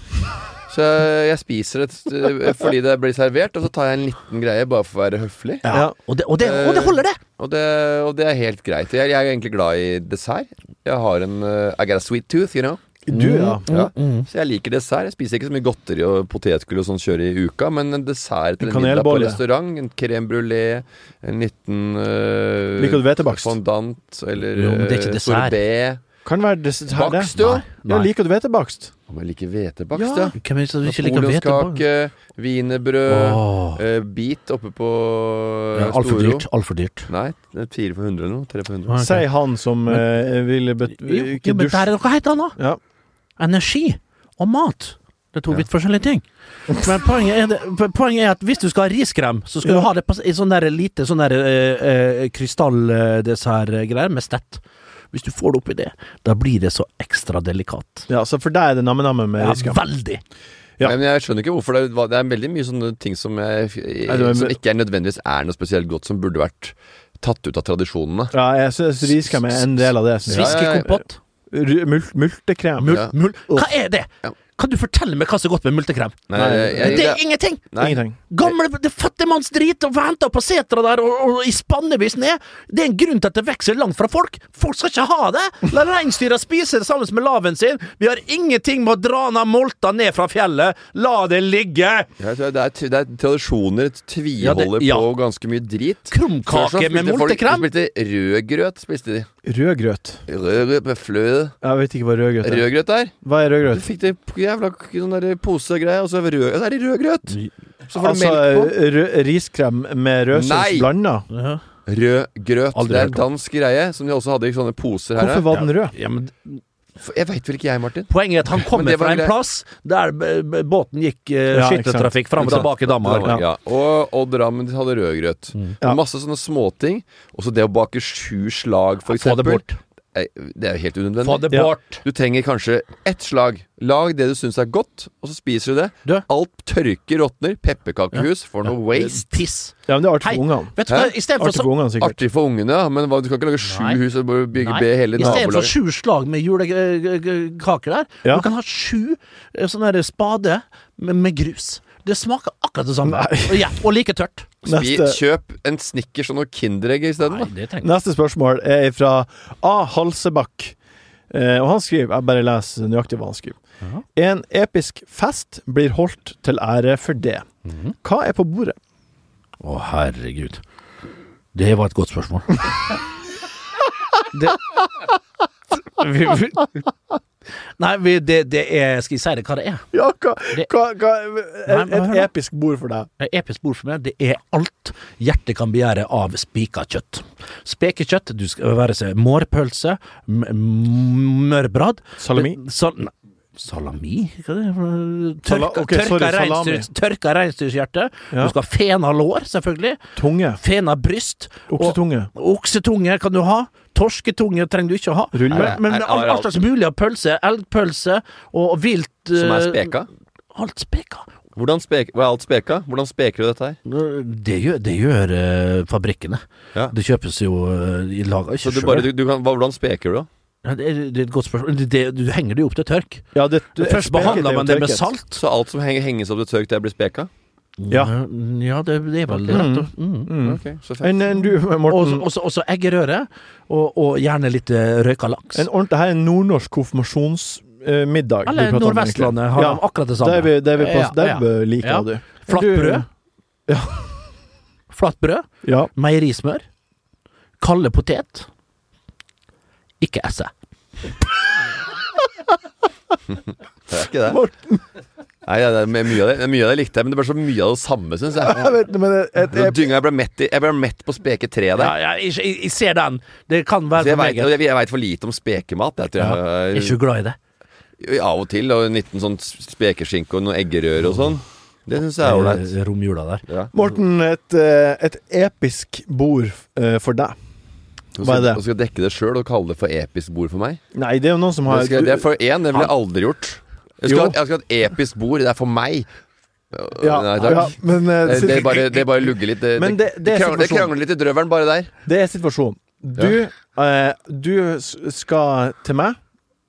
[SPEAKER 5] Så jeg, jeg spiser det eh, fordi det blir servert, og så tar jeg en liten greie bare for å være høflig.
[SPEAKER 4] Ja.
[SPEAKER 2] Ja.
[SPEAKER 4] Og, det, og, det, og det
[SPEAKER 5] Eh,
[SPEAKER 4] holder, det!
[SPEAKER 5] Og det, og det er helt greit. Jeg, jeg er egentlig glad i dessert. Jeg har en eh, I got a sweet tooth, you know. Mm,
[SPEAKER 2] Du, ja. Mm,
[SPEAKER 5] Ja. Så jeg liker dessert. Jeg spiser ikke så mye godteri og potetgull og sånn kjøre i uka, men en dessert til en middag på
[SPEAKER 2] Kanelbolle.
[SPEAKER 5] restaurant, en crème brulé, en liten øh,
[SPEAKER 2] Liker du hvetebakst?
[SPEAKER 5] Fondant eller
[SPEAKER 4] Jo, men det er ikke
[SPEAKER 5] øh,
[SPEAKER 4] dessert.
[SPEAKER 5] sorbet.
[SPEAKER 2] Kan være dessert, det.
[SPEAKER 5] Bakst, jo!
[SPEAKER 2] Ja, liker du hvetebakst?
[SPEAKER 5] Å, men Jeg liker
[SPEAKER 2] Ja.
[SPEAKER 5] hvetebakst, ja.
[SPEAKER 4] Hvem er det som ikke liker hvetebolle?
[SPEAKER 5] Napoleonskake,
[SPEAKER 2] eh,
[SPEAKER 5] wienerbrød,
[SPEAKER 4] Åh.
[SPEAKER 5] øh, bit oppe på
[SPEAKER 4] Ja,
[SPEAKER 5] øh,
[SPEAKER 4] Altfor
[SPEAKER 5] Storo.
[SPEAKER 4] dyrt. Altfor dyrt.
[SPEAKER 5] Nei, det er fire for hundre eller noe. Tre for hundre.
[SPEAKER 4] Ok.
[SPEAKER 2] Sier han som eh, ville bet
[SPEAKER 4] Jo,
[SPEAKER 2] ikke
[SPEAKER 4] jo, men der
[SPEAKER 2] dusje.
[SPEAKER 4] er noe helt annet.
[SPEAKER 2] Ja.
[SPEAKER 4] Energi og mat. Det er to vidt forskjellige ting. Men poenget er, det, poenget er at hvis du skal ha riskrem, så skal
[SPEAKER 2] Ja.
[SPEAKER 4] du ha det på s- i sånn der lite sånn der eh, eh, krystalldessertgreier med stett. Hvis du får det oppi det, da blir det så ekstra delikat.
[SPEAKER 2] Ja, så for deg er det namme-namme med
[SPEAKER 4] Ja,
[SPEAKER 2] riskrem.
[SPEAKER 4] veldig.
[SPEAKER 2] Ja.
[SPEAKER 5] Men jeg skjønner ikke hvorfor det er, hva- det er veldig mye sånne ting som, jeg,
[SPEAKER 2] Nei, det var-
[SPEAKER 5] som ikke er nødvendigvis er noe spesielt godt, som burde vært tatt ut av tradisjonene.
[SPEAKER 2] Ja, jeg syns riskrem er en del av det. synes jeg.
[SPEAKER 5] Ja, ja, ja.
[SPEAKER 4] Fiskekompott.
[SPEAKER 2] Ru- mul- Multekrem.
[SPEAKER 4] Mul
[SPEAKER 5] Ja.
[SPEAKER 4] mul Hva er det?
[SPEAKER 5] Ja.
[SPEAKER 4] Kan du fortelle meg hva som er godt med multekrem?
[SPEAKER 5] Nei,
[SPEAKER 2] Nei,
[SPEAKER 5] jeg, jeg,
[SPEAKER 4] Det er ingenting!
[SPEAKER 5] nei.
[SPEAKER 2] Ingenting.
[SPEAKER 4] Gamle det er fattigmannsdrit og henta på setra der og, og i spannevis ned. Det er en grunn til at det vokser langt fra folk. Folk skal ikke ha det! La reinsdyra spise det sammen med laven sin. Vi har ingenting med å dra ned molta ned fra fjellet. La det ligge!
[SPEAKER 5] Jeg tror det, er, t- det er tradisjoner tviholder
[SPEAKER 4] Ja, det- ja.
[SPEAKER 5] på ganske mye drit. Før så
[SPEAKER 4] Krumkake med
[SPEAKER 5] spilte folk-
[SPEAKER 4] multekrem.
[SPEAKER 5] Spilte rødgrøt, spiste de.
[SPEAKER 2] Rødgrøt.
[SPEAKER 5] Rødgrøt med fløte.
[SPEAKER 2] Jeg vet ikke hva rødgrøt er.
[SPEAKER 5] Rødgrøt der.
[SPEAKER 2] Hva er
[SPEAKER 5] Du
[SPEAKER 2] rødgrøt?
[SPEAKER 5] fikk det på jævla k- sånn der posegreie, og så er det rød, så er det rødgrøt! Så får du
[SPEAKER 2] Altså
[SPEAKER 5] melk på.
[SPEAKER 2] rø- riskrem med rødsaus
[SPEAKER 5] Nei!
[SPEAKER 2] blanda?
[SPEAKER 5] Rødgrøt.
[SPEAKER 4] Aldri
[SPEAKER 5] Det er
[SPEAKER 4] hørt om.
[SPEAKER 5] dansk greie, som de også hadde i sånne poser her.
[SPEAKER 2] Hvorfor var den rød?
[SPEAKER 4] Ja, men
[SPEAKER 5] Jeg veit vel ikke jeg, Martin.
[SPEAKER 4] Poenget er at han
[SPEAKER 5] Men
[SPEAKER 4] kommer
[SPEAKER 5] det var
[SPEAKER 4] fra en
[SPEAKER 5] greit.
[SPEAKER 4] plass der b- b- båten gikk eh,
[SPEAKER 2] Ja, ikke sant.
[SPEAKER 4] skytteltrafikk fram og
[SPEAKER 5] Ikke sant.
[SPEAKER 4] tilbake i Danmark.
[SPEAKER 5] Ja. Mm. Og, og Drammen de hadde rødgrøt.
[SPEAKER 2] Ja.
[SPEAKER 5] Og Masse sånne småting. Også det å bake sju slag, for
[SPEAKER 4] Få det
[SPEAKER 5] eksempel.
[SPEAKER 4] bort.
[SPEAKER 5] eh, det er jo helt unødvendig.
[SPEAKER 4] Få det
[SPEAKER 2] Ja.
[SPEAKER 4] bort.
[SPEAKER 5] Du trenger kanskje ett slag. Lag det du syns er godt, og så spiser du det.
[SPEAKER 2] Du.
[SPEAKER 5] Alt tørker, råtner. Pepperkakehus for noe waste.
[SPEAKER 4] Piss.
[SPEAKER 2] Ja, men det er artig
[SPEAKER 4] Hei,
[SPEAKER 2] for ungene.
[SPEAKER 4] Vet du hva,
[SPEAKER 5] Hæ?
[SPEAKER 4] istedenfor
[SPEAKER 2] Artig
[SPEAKER 4] så
[SPEAKER 2] for ungene, sikkert.
[SPEAKER 5] Artig for ungene, ja, men hva, du kan ikke lage sju
[SPEAKER 4] Nei.
[SPEAKER 5] hus og bare bygge be hele
[SPEAKER 4] Istedenfor
[SPEAKER 5] nabolaget.
[SPEAKER 4] sju slag med eh, julekaker der,
[SPEAKER 2] Ja.
[SPEAKER 4] du kan ha sju eh, sånne der spade med, med grus. Det smaker akkurat det samme.
[SPEAKER 2] Nei.
[SPEAKER 4] Og, ja, og like tørt.
[SPEAKER 5] Spi,
[SPEAKER 2] Neste.
[SPEAKER 5] kjøp en snickers og noe Kinderegg isteden. da.
[SPEAKER 4] det
[SPEAKER 2] Neste spørsmål er fra A. Halsebakk. Eh, og han skriver Jeg bare leser nøyaktig hva han skriver. En episk fest blir holdt til ære for det.
[SPEAKER 4] Mhm.
[SPEAKER 2] Hva er på bordet?
[SPEAKER 4] Å, herregud. Det var et godt spørsmål. det vi, vi, Nei, vi, det, det er Skal jeg si det hva det er?
[SPEAKER 2] Ja, hva,
[SPEAKER 4] Det-
[SPEAKER 2] hva, hva
[SPEAKER 4] Nei,
[SPEAKER 2] Et,
[SPEAKER 4] men hør
[SPEAKER 2] et
[SPEAKER 4] nå.
[SPEAKER 2] episk bord for deg.
[SPEAKER 4] Det er Episk bord for meg, det er alt hjertet kan begjære av spika kjøtt. Spekekjøtt, du skal være seg mårpølse, m- m- mørbrad
[SPEAKER 2] Salami?
[SPEAKER 4] Men Sal nei, salami? Hva er det?
[SPEAKER 2] Sala-
[SPEAKER 4] Tørka,
[SPEAKER 2] ok, sorry,
[SPEAKER 4] tørka,
[SPEAKER 2] salami.
[SPEAKER 4] reinsdyrs, tørka reinsdyrshjerte.
[SPEAKER 2] Ja.
[SPEAKER 4] Du skal ha fena lår, selvfølgelig.
[SPEAKER 2] Tunge.
[SPEAKER 4] Fena bryst.
[SPEAKER 2] Oksetunge.
[SPEAKER 4] Og, oksetunge kan du ha. Torsketunge trenger du ikke å ha.
[SPEAKER 2] Rulle.
[SPEAKER 4] Men, men
[SPEAKER 5] Er- er-
[SPEAKER 4] all, all slags mulig av pølse. Elgpølse og vilt
[SPEAKER 5] Som er
[SPEAKER 4] eh,
[SPEAKER 5] speka.
[SPEAKER 4] Alt speka.
[SPEAKER 5] Hvordan spek, er alt speka? Hvordan speker du dette her?
[SPEAKER 4] Det gjør, det gjør eh, fabrikkene.
[SPEAKER 5] Ja.
[SPEAKER 4] Det kjøpes jo eh, i laga.
[SPEAKER 5] Så
[SPEAKER 4] Ikke
[SPEAKER 5] du bare,
[SPEAKER 4] selv.
[SPEAKER 5] du, du kan, hva, hvordan speker du, da?
[SPEAKER 4] Ja, det, er, det er et godt spørsmål. Det, det, du henger det jo opp til tørk.
[SPEAKER 2] Ja, det, det-
[SPEAKER 4] Først
[SPEAKER 2] speket er
[SPEAKER 4] behandler
[SPEAKER 2] jo
[SPEAKER 4] man det med
[SPEAKER 2] tørket.
[SPEAKER 4] salt.
[SPEAKER 5] Så alt som henger, henges opp til tørk, det blir speka?
[SPEAKER 2] Ja.
[SPEAKER 4] ja det, det er vel rett. og- Mm.
[SPEAKER 2] Mm.
[SPEAKER 5] Ok, så fett.
[SPEAKER 2] En, en, du,
[SPEAKER 4] Og
[SPEAKER 2] Morten,
[SPEAKER 4] så- og så eggerøre, og, og gjerne litt eh, røyka laks.
[SPEAKER 2] en ordentlig, det her er en nordnorsk konfirmasjonsmiddag.
[SPEAKER 4] Eller Nordvestlandet har de akkurat det
[SPEAKER 2] Det er
[SPEAKER 4] samme.
[SPEAKER 2] vi, det er vi på,
[SPEAKER 4] Ja,
[SPEAKER 2] det
[SPEAKER 4] ja.
[SPEAKER 2] bør like
[SPEAKER 4] Ja.
[SPEAKER 2] du.
[SPEAKER 4] Flatt
[SPEAKER 2] Du-
[SPEAKER 4] brød.
[SPEAKER 2] Ja.
[SPEAKER 4] Flatt brød,
[SPEAKER 2] Ja.
[SPEAKER 4] meierismør, kalde potet. Ikke esse.
[SPEAKER 5] Det er ikke det. Nei, ja, det er mye av det, det er mye av det likte jeg, men det ble så mye av det samme, syns jeg.
[SPEAKER 2] Jeg vet, men eh, et, et,
[SPEAKER 5] Nå dynga jeg ble mett, i- jeg ble mett på speke tre der.
[SPEAKER 4] Ja, ja, jeg, jeg, jeg ser den. Det kan
[SPEAKER 5] Så
[SPEAKER 4] være
[SPEAKER 5] jeg
[SPEAKER 4] for
[SPEAKER 5] veit
[SPEAKER 4] meget.
[SPEAKER 5] jeg, vet for lite om spekemat. Jeg, tror
[SPEAKER 4] Jeg er
[SPEAKER 5] jeg,
[SPEAKER 4] ikke glad i det.
[SPEAKER 5] av og til. Og en liten sånn spekeskinke og noen eggerøre og sånn. Det syns jeg er ålreit.
[SPEAKER 4] Eh, Romjula der.
[SPEAKER 5] Ja.
[SPEAKER 2] Morten, et, eh, et episk bord eh, for deg.
[SPEAKER 5] Og
[SPEAKER 2] hva er
[SPEAKER 5] så-
[SPEAKER 2] det?
[SPEAKER 5] Og skal dekke det sjøl og kalle det for episk bord for meg.
[SPEAKER 2] Nei, det er jo noen som har
[SPEAKER 5] Det, skal, det er for én, det ville jeg aldri gjort. Jeg
[SPEAKER 2] Jo.
[SPEAKER 5] skal, ha- jeg skal ha et episk bord, det er for meg.
[SPEAKER 2] ja,
[SPEAKER 5] Nei, takk.
[SPEAKER 2] ja, men, eh,
[SPEAKER 5] Det,
[SPEAKER 2] sit-
[SPEAKER 5] det, bare, det bare lugger litt. Det,
[SPEAKER 2] Men
[SPEAKER 5] det,
[SPEAKER 2] det- det
[SPEAKER 5] det,
[SPEAKER 2] er
[SPEAKER 5] krangler, det
[SPEAKER 2] situasjonen.
[SPEAKER 5] krangler litt i drøvelen bare der.
[SPEAKER 2] det er situasjonen. Du, eh, du s- skal til meg,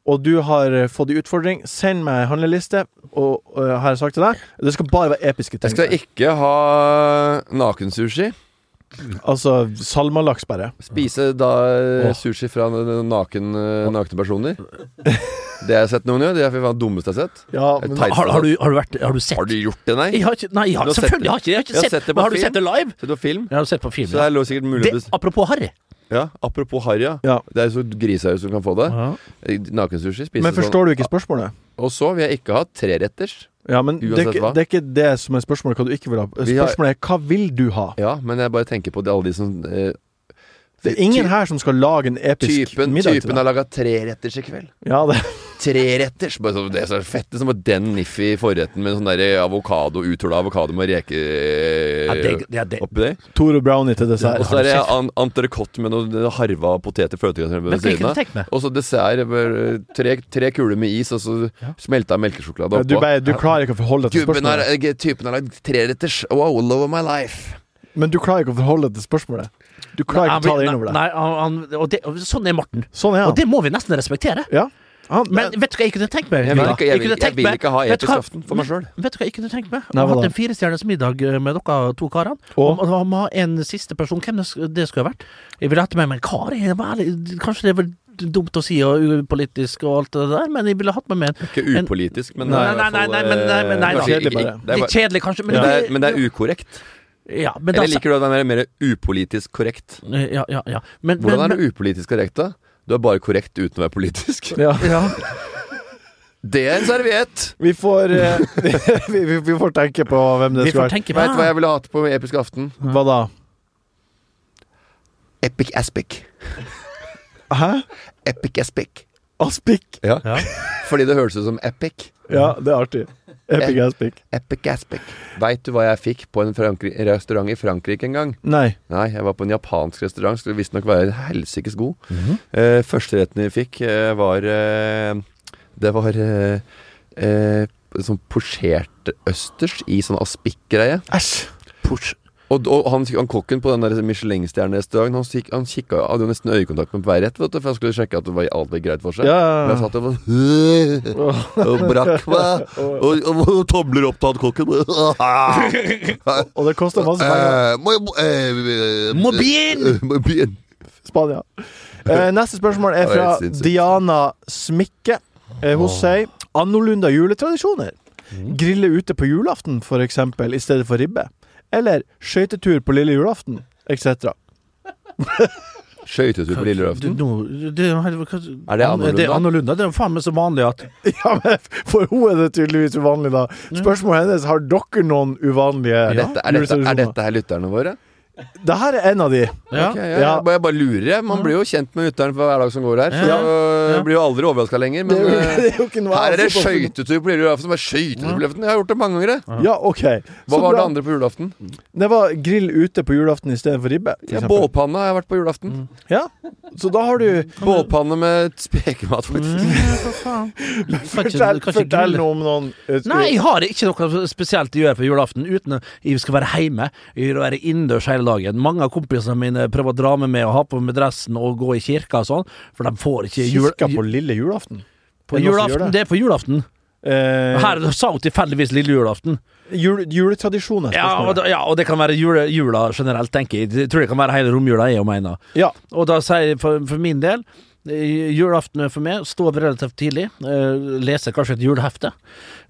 [SPEAKER 2] og du har eh, fått en utfordring. Send meg handleliste, og, eh, har jeg sagt til deg. Det skal bare være episke ting.
[SPEAKER 5] Jeg skal ikke ha nakensushi.
[SPEAKER 2] Altså salmalaks, bare.
[SPEAKER 5] Spise da eh, sushi fra n- naken, eh, nakne personer. Det har jeg sett noen gjøre. Det er for faen det dummeste jeg har sett.
[SPEAKER 2] Ja,
[SPEAKER 5] Et
[SPEAKER 2] men,
[SPEAKER 5] teit-
[SPEAKER 4] Har, har, du, har, du vært, har du sett?
[SPEAKER 5] Har du gjort det, nei?
[SPEAKER 4] Jeg har ikke, nei, jeg har,
[SPEAKER 5] Du har sett
[SPEAKER 4] selvfølgelig
[SPEAKER 5] det.
[SPEAKER 4] har ikke, jeg har ikke
[SPEAKER 5] Jeg har
[SPEAKER 4] sett,
[SPEAKER 5] sett det på
[SPEAKER 4] men har du
[SPEAKER 5] film.
[SPEAKER 4] sett det live?
[SPEAKER 5] Sett på film?
[SPEAKER 4] Jeg har du sett på film,
[SPEAKER 5] Så det
[SPEAKER 4] ja.
[SPEAKER 5] er lå sikkert mulig
[SPEAKER 4] Det,
[SPEAKER 5] å bes-
[SPEAKER 4] apropos Harry.
[SPEAKER 5] Ja, apropos harry, ja.
[SPEAKER 2] Ja.
[SPEAKER 5] Det er jo så grisehaug som kan få det. Eh, Nakensushi spises
[SPEAKER 2] men forstår du ikke spørsmålet?
[SPEAKER 5] sånn. Og så vil jeg ikke ha treretters.
[SPEAKER 2] Ja, men det er,
[SPEAKER 5] Uansett
[SPEAKER 2] ikke,
[SPEAKER 5] hva.
[SPEAKER 2] det er ikke det som er spørsmålet, hva du ikke vil ha.
[SPEAKER 5] Vi har-
[SPEAKER 2] Spørsmålet er hva vil du ha?
[SPEAKER 5] Ja, men jeg bare tenker på det, alle de som eh,
[SPEAKER 2] Det er ingen her som skal lage en episk
[SPEAKER 5] Typen,
[SPEAKER 2] middag til
[SPEAKER 5] typen
[SPEAKER 2] deg.
[SPEAKER 5] har laga treretters i kveld.
[SPEAKER 2] Ja, det,
[SPEAKER 5] Treretters! Bare så, det er så fett. Det er som bare den niffy forretten med sånn der avokado, uthulla avokado med reke
[SPEAKER 4] Ja, det, ja, det,
[SPEAKER 5] oppi der.
[SPEAKER 2] Toro Brownie til
[SPEAKER 5] Og
[SPEAKER 2] dessert.
[SPEAKER 5] så er det an entrecôte med noe harva poteter fløtegrøt ved
[SPEAKER 4] men hva
[SPEAKER 5] siden
[SPEAKER 4] kunne du
[SPEAKER 5] av.
[SPEAKER 4] tenkt meg?
[SPEAKER 5] Og så dessert. eh, Tre, tre kuler med is, og så smelta melkesjokolade
[SPEAKER 2] Ja, Du,
[SPEAKER 5] oppå.
[SPEAKER 2] bare, du klarer ikke å forholde deg til
[SPEAKER 5] Gubben har,
[SPEAKER 2] spørsmålet.
[SPEAKER 5] eh, typen har lagd treretters. Wow, love of my life.
[SPEAKER 2] Men du klarer ikke å forholde deg til spørsmålet. Du klarer ikke å ta det innover deg.
[SPEAKER 4] Nei, han, han- og det, og sånn er Morten.
[SPEAKER 2] Sånn er
[SPEAKER 4] Og
[SPEAKER 2] han.
[SPEAKER 4] det må vi nesten respektere.
[SPEAKER 2] Ja. Han,
[SPEAKER 4] Men vet du hva jeg kunne tenkt meg?
[SPEAKER 5] Jeg vil
[SPEAKER 4] Vidar?
[SPEAKER 5] ikke, jeg vil,
[SPEAKER 4] kunne
[SPEAKER 5] jeg
[SPEAKER 4] tenkt
[SPEAKER 5] vil
[SPEAKER 4] meg-
[SPEAKER 5] ikke ha
[SPEAKER 4] vet du
[SPEAKER 5] episk
[SPEAKER 4] hva-
[SPEAKER 5] aften for meg sjøl.
[SPEAKER 4] Vet du hva jeg kunne tenkt meg?
[SPEAKER 2] Nei,
[SPEAKER 4] Å ha
[SPEAKER 2] hva da?
[SPEAKER 4] hatt en firestjerners middag eh, med dere to karene.
[SPEAKER 2] Og?
[SPEAKER 4] Og og ha en siste person. Hvem det sk- det skulle ha vært? Jeg ville hatt med meg en kar. Jeg var ærlig, Kanskje det er vel dumt å si og upolitisk og alt det der, men jeg ville hatt med meg en
[SPEAKER 5] Ikke
[SPEAKER 4] En-
[SPEAKER 5] upolitisk, men
[SPEAKER 4] Nei,
[SPEAKER 5] det er i hvert
[SPEAKER 4] nei, nei,
[SPEAKER 5] fall,
[SPEAKER 4] nei, men- nei, men nei,
[SPEAKER 5] eh,
[SPEAKER 4] da.
[SPEAKER 5] kanskje
[SPEAKER 2] Kjedelig
[SPEAKER 5] i- i-
[SPEAKER 2] bare.
[SPEAKER 5] det er
[SPEAKER 4] Litt
[SPEAKER 5] bare-
[SPEAKER 4] kjedelig, kanskje, men,
[SPEAKER 5] Men det er-
[SPEAKER 4] det-
[SPEAKER 5] Men det er ukorrekt.
[SPEAKER 4] ja, men da-
[SPEAKER 5] Eller liker du å være mer upolitisk korrekt?
[SPEAKER 4] ja, ja, ja. Men,
[SPEAKER 5] Hvordan
[SPEAKER 4] men,
[SPEAKER 5] er du upolitisk korrekt, da? Du er bare korrekt uten å være politisk.
[SPEAKER 2] ja.
[SPEAKER 5] Det er en serviett!
[SPEAKER 2] Vi får eh, vi, vi, vi får tenke på hvem det
[SPEAKER 4] Vi
[SPEAKER 2] skulle vært.
[SPEAKER 4] får tenke på
[SPEAKER 5] Veit du hva jeg ville hatt på Episk aften?
[SPEAKER 2] Hva da?
[SPEAKER 5] Epic aspic.
[SPEAKER 2] Hæ?
[SPEAKER 5] Epic aspic.
[SPEAKER 2] Aspik?
[SPEAKER 5] Ja. Fordi det høres ut som epic.
[SPEAKER 2] Ja, det er artig. Epic ass pic.
[SPEAKER 5] Epic aspic. Veit du hva jeg fikk på en Frankri restaurant i Frankrike en gang?
[SPEAKER 2] Nei.
[SPEAKER 5] Nei, jeg var på en japansk restaurant. Skulle visstnok være helsikes god. Eh, Førsteretten vi fikk, eh, var eh, Det var eh, eh, sånn posjert østers i sånn aspikk-greie.
[SPEAKER 2] Æsj.
[SPEAKER 5] Og, og han, han kokken på den der Michelin-stjerne-restauranten Han, kik- han kikka, hadde jo nesten øyekontakt med hver rett, vet du, for han skulle sjekke at det var alt var greit for seg.
[SPEAKER 2] Ja.
[SPEAKER 5] Men jeg satt der og bare Og brakk meg. Og, og, og tomler opp til han kokken.
[SPEAKER 2] Og det koster masse penger.
[SPEAKER 5] Eh, må- må- eh, eh,
[SPEAKER 4] Må bien!
[SPEAKER 5] eh, må bien.
[SPEAKER 2] Spania. Eh, neste spørsmål er
[SPEAKER 5] Det er
[SPEAKER 2] fra
[SPEAKER 5] helt sinnssykt.
[SPEAKER 2] Diana Smikke. Eh, hun sier annorlunda juletradisjoner. Grille ute på julaften, for eksempel, i stedet for ribbe. Eller skøytetur på lille julaften, etc.
[SPEAKER 5] Skøytetur på lille
[SPEAKER 4] Du,
[SPEAKER 5] julaften.
[SPEAKER 4] nå- det, hva- hva-
[SPEAKER 5] Er det annorlunda?
[SPEAKER 4] Det er annorlunda. Det er jo faen meg så vanlig at
[SPEAKER 2] Ja, men For hun er det tydeligvis uvanlig, da. Spørsmålet hennes har dere noen uvanlige
[SPEAKER 5] Er dette, er, dette, er
[SPEAKER 2] juletradisjoner.
[SPEAKER 5] dette her lytterne våre?
[SPEAKER 2] Det her er en av de.
[SPEAKER 4] ja.
[SPEAKER 5] Ok, ja,
[SPEAKER 2] Ja.
[SPEAKER 5] Jeg, bare, jeg bare lurer. jeg. Man blir jo kjent med lytteren for hver dag som går her. Så
[SPEAKER 4] Ja.
[SPEAKER 5] øh, blir jo aldri overraska lenger.
[SPEAKER 2] Det
[SPEAKER 5] Men
[SPEAKER 2] er jo, det
[SPEAKER 5] øh,
[SPEAKER 2] er jo ikke noe
[SPEAKER 5] her er det
[SPEAKER 2] annet
[SPEAKER 4] altså,
[SPEAKER 2] som-
[SPEAKER 5] skøytetur på lille julaften. Bare skøytetur på julaften. Jeg har gjort det mange ganger. jeg.
[SPEAKER 2] Ja, OK.
[SPEAKER 5] Hva
[SPEAKER 2] Så
[SPEAKER 5] var
[SPEAKER 2] bra.
[SPEAKER 5] det andre på julaften?
[SPEAKER 2] Det var grill ute på julaften istedenfor ribbe. for
[SPEAKER 5] Ja,
[SPEAKER 2] eksempel.
[SPEAKER 5] Bålpanne har jeg vært på julaften.
[SPEAKER 4] Mm.
[SPEAKER 2] Ja, så da har du
[SPEAKER 5] Bålpanne med spekemat,
[SPEAKER 4] Mm.
[SPEAKER 5] faktisk.
[SPEAKER 4] Kan ikke-
[SPEAKER 2] Fortell,
[SPEAKER 4] kan ikke
[SPEAKER 2] fortell
[SPEAKER 4] grille.
[SPEAKER 2] noe om noen eh, skulle-
[SPEAKER 4] Nei, jeg har ikke noe spesielt å gjøre på julaften uten at jeg skal være hjemme. Jeg vil være innendørs hele dagen. Mange av kompisene mine prøver å dra meg med og ha på meg dressen og gå i kirka og sånn, for de får ikke jul...
[SPEAKER 2] Kirka på lille julaften.
[SPEAKER 4] på julaften. Det er på julaften.
[SPEAKER 2] Eh,
[SPEAKER 4] Her sa hun tilfeldigvis lille julaften.
[SPEAKER 2] jul, juletradisjoner.
[SPEAKER 4] Ja,
[SPEAKER 2] spørsmålet.
[SPEAKER 4] og, da, ja, og det kan være jule, jula generelt, tenker jeg. Jeg tror det kan være hele romjula, jeg mener.
[SPEAKER 2] ja.
[SPEAKER 4] Og da sier jeg for, for min del eh, Julaften for meg, stå opp relativt tidlig, eh, lese kanskje et julehefte,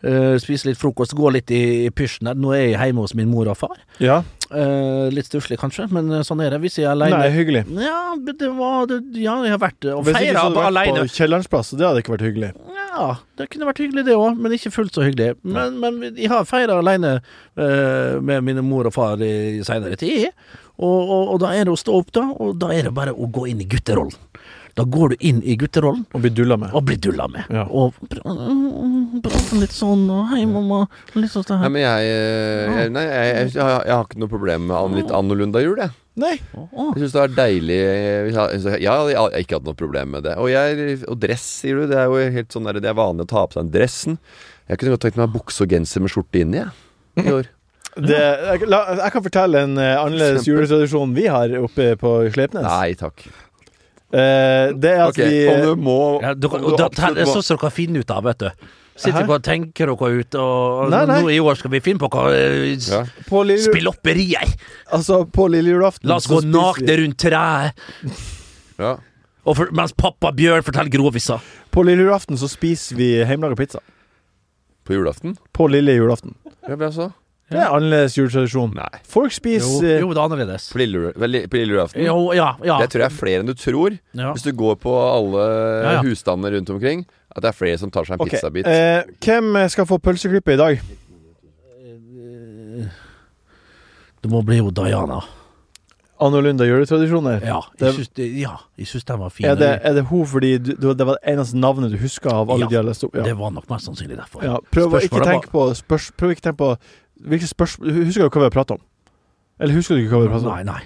[SPEAKER 4] eh, spise litt frokost, gå litt i, i pysjen der. Nå er jeg hjemme hos min mor og far.
[SPEAKER 2] ja.
[SPEAKER 4] Eh, litt stusslig kanskje, men eh, sånn er det. Hvis jeg er
[SPEAKER 2] Nei,
[SPEAKER 4] aleine
[SPEAKER 2] hyggelig.
[SPEAKER 4] ja, men det var, det, ja, jeg har vært eh, og
[SPEAKER 2] Hvis ikke så
[SPEAKER 4] feira
[SPEAKER 2] hadde du vært
[SPEAKER 4] aleine.
[SPEAKER 2] på Kiellerens plass, så det hadde ikke vært hyggelig.
[SPEAKER 4] Ja, det kunne vært hyggelig det òg, men ikke fullt så hyggelig. Men, men jeg har feira aleine eh, med mine mor og far i seinere tid. Og, og, og da er det å stå opp, da, og da er det bare å gå inn i gutterollen. Da går du inn i gutterollen
[SPEAKER 2] Å bli dulla med.
[SPEAKER 4] og blir dulla med.
[SPEAKER 2] Ja.
[SPEAKER 4] Og pr- mm, prate litt sånn, og hei, mamma. og Litt sånn
[SPEAKER 5] Nei,
[SPEAKER 4] her.
[SPEAKER 5] men jeg, øh,
[SPEAKER 4] Mm.
[SPEAKER 5] jeg, nei, jeg, jeg, jeg, har- jeg har ikke noe problem med an, litt annorlunda jul, jeg.
[SPEAKER 2] Nei.
[SPEAKER 5] Jeg syns det er deilig eh, hvis jeg, jeg, jeg, har- jeg har ikke hatt noe problem med det. Og, jeg, og dress, sier du. Det er jo helt sånn der, det er vanlig å ta på seg den dressen. Jeg kunne godt tenkt meg bukse og genser med skjorte inni, jeg. I år.
[SPEAKER 2] Det, jeg, la, jeg kan fortelle en eh, annerledes
[SPEAKER 5] Eksempel.
[SPEAKER 2] juletradisjon vi har oppe på Slepnes.
[SPEAKER 5] Nei takk.
[SPEAKER 2] Eh, det er at
[SPEAKER 5] Ok,
[SPEAKER 2] vi
[SPEAKER 5] om du må
[SPEAKER 4] altså, Ja, du,
[SPEAKER 5] om
[SPEAKER 4] kan-
[SPEAKER 5] du
[SPEAKER 4] og da,
[SPEAKER 5] absolutt
[SPEAKER 4] det er
[SPEAKER 5] må-
[SPEAKER 4] sånn som dere finner ut av, vet du. Sitter
[SPEAKER 2] Hæ?
[SPEAKER 4] dere og tenker dere ut, og
[SPEAKER 2] Nei, nei.
[SPEAKER 4] nå i år skal vi finne på hva eh, s-
[SPEAKER 5] Ja.
[SPEAKER 2] på lille,
[SPEAKER 4] Spill opperier!
[SPEAKER 2] altså, på lille julaften
[SPEAKER 4] La oss
[SPEAKER 2] så
[SPEAKER 4] gå
[SPEAKER 2] Sånn spiser vi-
[SPEAKER 4] nakne rundt treet.
[SPEAKER 5] Ja.
[SPEAKER 4] Og for, mens pappa Bjørn forteller groviser.
[SPEAKER 2] På lille julaften så spiser vi hjemmelaga pizza.
[SPEAKER 5] På julaften?
[SPEAKER 2] På lille julaften.
[SPEAKER 5] Ja, bra så.
[SPEAKER 2] Det er annerledes juletradisjon.
[SPEAKER 5] Nei.
[SPEAKER 2] Folk spiser
[SPEAKER 4] Jo, det er annerledes.
[SPEAKER 5] På lille, vel, på lille julaften?
[SPEAKER 4] Jo, ja, ja.
[SPEAKER 5] eh. Det tror jeg er flere enn du tror.
[SPEAKER 4] ja.
[SPEAKER 5] Hvis du går på alle
[SPEAKER 4] Ja, ja.
[SPEAKER 5] husstander rundt omkring, at det er flere som tar seg en
[SPEAKER 2] Ok,
[SPEAKER 5] pizzabit.
[SPEAKER 2] eh, hvem skal få pølseklippet i dag?
[SPEAKER 4] Eh, Det må bli jo Diana.
[SPEAKER 2] Annorlunda juletradisjoner.
[SPEAKER 4] Ja,
[SPEAKER 2] Det-
[SPEAKER 4] jeg syns, det, ja, jeg syns den var fin.
[SPEAKER 2] Er det, er det hun fordi du, du, det var det eneste navnet du huska av alle
[SPEAKER 4] Ja,
[SPEAKER 2] de jeg leste opp? Ja.
[SPEAKER 4] Det var nok mest sannsynlig derfor.
[SPEAKER 2] Ja, prøv å ikke
[SPEAKER 4] Spørsmålet
[SPEAKER 2] tenke på, spørs, prøv å ikke tenke på hvilke spørsmål Husker du hva vi har pratet om? Eller husker du ikke hva vi har pratet om?
[SPEAKER 4] Nei,
[SPEAKER 5] sånn.
[SPEAKER 4] nei.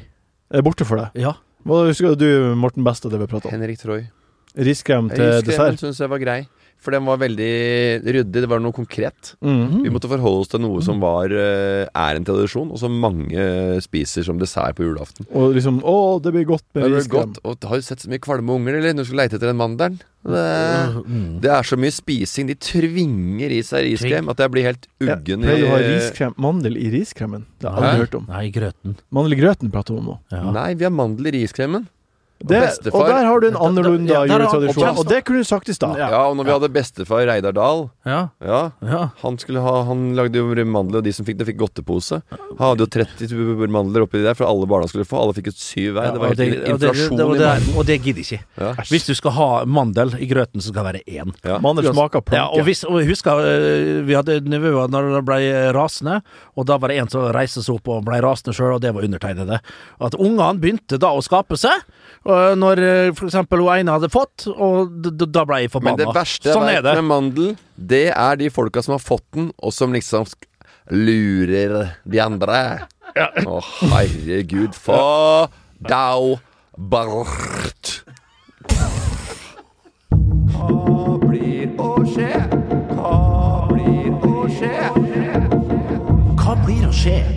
[SPEAKER 2] Er det borte for deg?
[SPEAKER 4] Ja.
[SPEAKER 2] Hva husker du, Morten Best, av det vi har pratet om?
[SPEAKER 5] Henrik Troy.
[SPEAKER 2] Riskrem til
[SPEAKER 5] Huskremen
[SPEAKER 2] dessert?
[SPEAKER 5] syns jeg var grei. For den var veldig ryddig. Det var noe konkret.
[SPEAKER 4] Mm.
[SPEAKER 2] Mhm.
[SPEAKER 5] Vi måtte forholde oss til noe
[SPEAKER 2] Mm.
[SPEAKER 5] som var, eh, er en tradisjon, og som mange eh, spiser som dessert på julaften.
[SPEAKER 2] Og liksom Å, det blir godt
[SPEAKER 5] Det
[SPEAKER 2] med
[SPEAKER 5] er vel
[SPEAKER 2] riskrem.
[SPEAKER 5] godt, og Har du sett så mye kvalme unger, eller? Når du skal leite etter den mandelen. Det,
[SPEAKER 4] Mm.
[SPEAKER 5] det er så mye spising. De tvinger i seg riskrem at jeg blir helt
[SPEAKER 2] Ja,
[SPEAKER 5] uggen
[SPEAKER 2] pleier du å ha
[SPEAKER 5] i
[SPEAKER 2] riskrem, mandel i riskremen? Det har jeg
[SPEAKER 5] Hæ?
[SPEAKER 2] aldri hørt om.
[SPEAKER 4] Nei, grøten.
[SPEAKER 2] Mandel i grøten prater vi om nå.
[SPEAKER 4] Ja.
[SPEAKER 5] Nei, vi har mandel i riskremen.
[SPEAKER 2] Det, og
[SPEAKER 5] bestefar-
[SPEAKER 2] der har du en annerledes
[SPEAKER 4] Ja, der har-
[SPEAKER 2] juletradisjon. Og det kunne du sagt i stad.
[SPEAKER 5] Ja, og når vi hadde bestefar Reidar Dahl
[SPEAKER 4] Ja.
[SPEAKER 5] ja,
[SPEAKER 4] ja.
[SPEAKER 5] han, skulle ha, han lagde jo mandler, og de som fikk det, fikk godtepose. Han hadde jo 30 tuber mandler oppi der, for alle barna skulle få. Alle fikk et syv hver. Det var
[SPEAKER 4] og
[SPEAKER 5] helt
[SPEAKER 4] og det,
[SPEAKER 5] inflasjon
[SPEAKER 4] det, og
[SPEAKER 5] i
[SPEAKER 4] det,
[SPEAKER 5] mandelen.
[SPEAKER 4] og det gidder jeg ikke.
[SPEAKER 5] Ja.
[SPEAKER 4] Hvis du skal ha mandel i grøten, så skal det være én.
[SPEAKER 5] Ja.
[SPEAKER 2] Mandel smaker planke.
[SPEAKER 4] Ja, og hvis, og husk, eh, vi hadde nivåer når det ble eh, rasende, og da var det en som reiste seg opp og ble rasende sjøl, og det var undertegnede. At ungene begynte da å skape seg, og øh, når øh, for eksempel hun ene hadde fått, og d d da ble jeg
[SPEAKER 5] Men det
[SPEAKER 4] forbanna.
[SPEAKER 5] verste
[SPEAKER 4] Sånn
[SPEAKER 5] jeg
[SPEAKER 4] er
[SPEAKER 5] vet
[SPEAKER 4] det.
[SPEAKER 5] med mandel, det er de folka som har fått den, og som liksom sk- lurer de andre. Å, herregud. Få dau bort. Hva blir å skje? Hva blir å skje?
[SPEAKER 4] Hva blir å skje?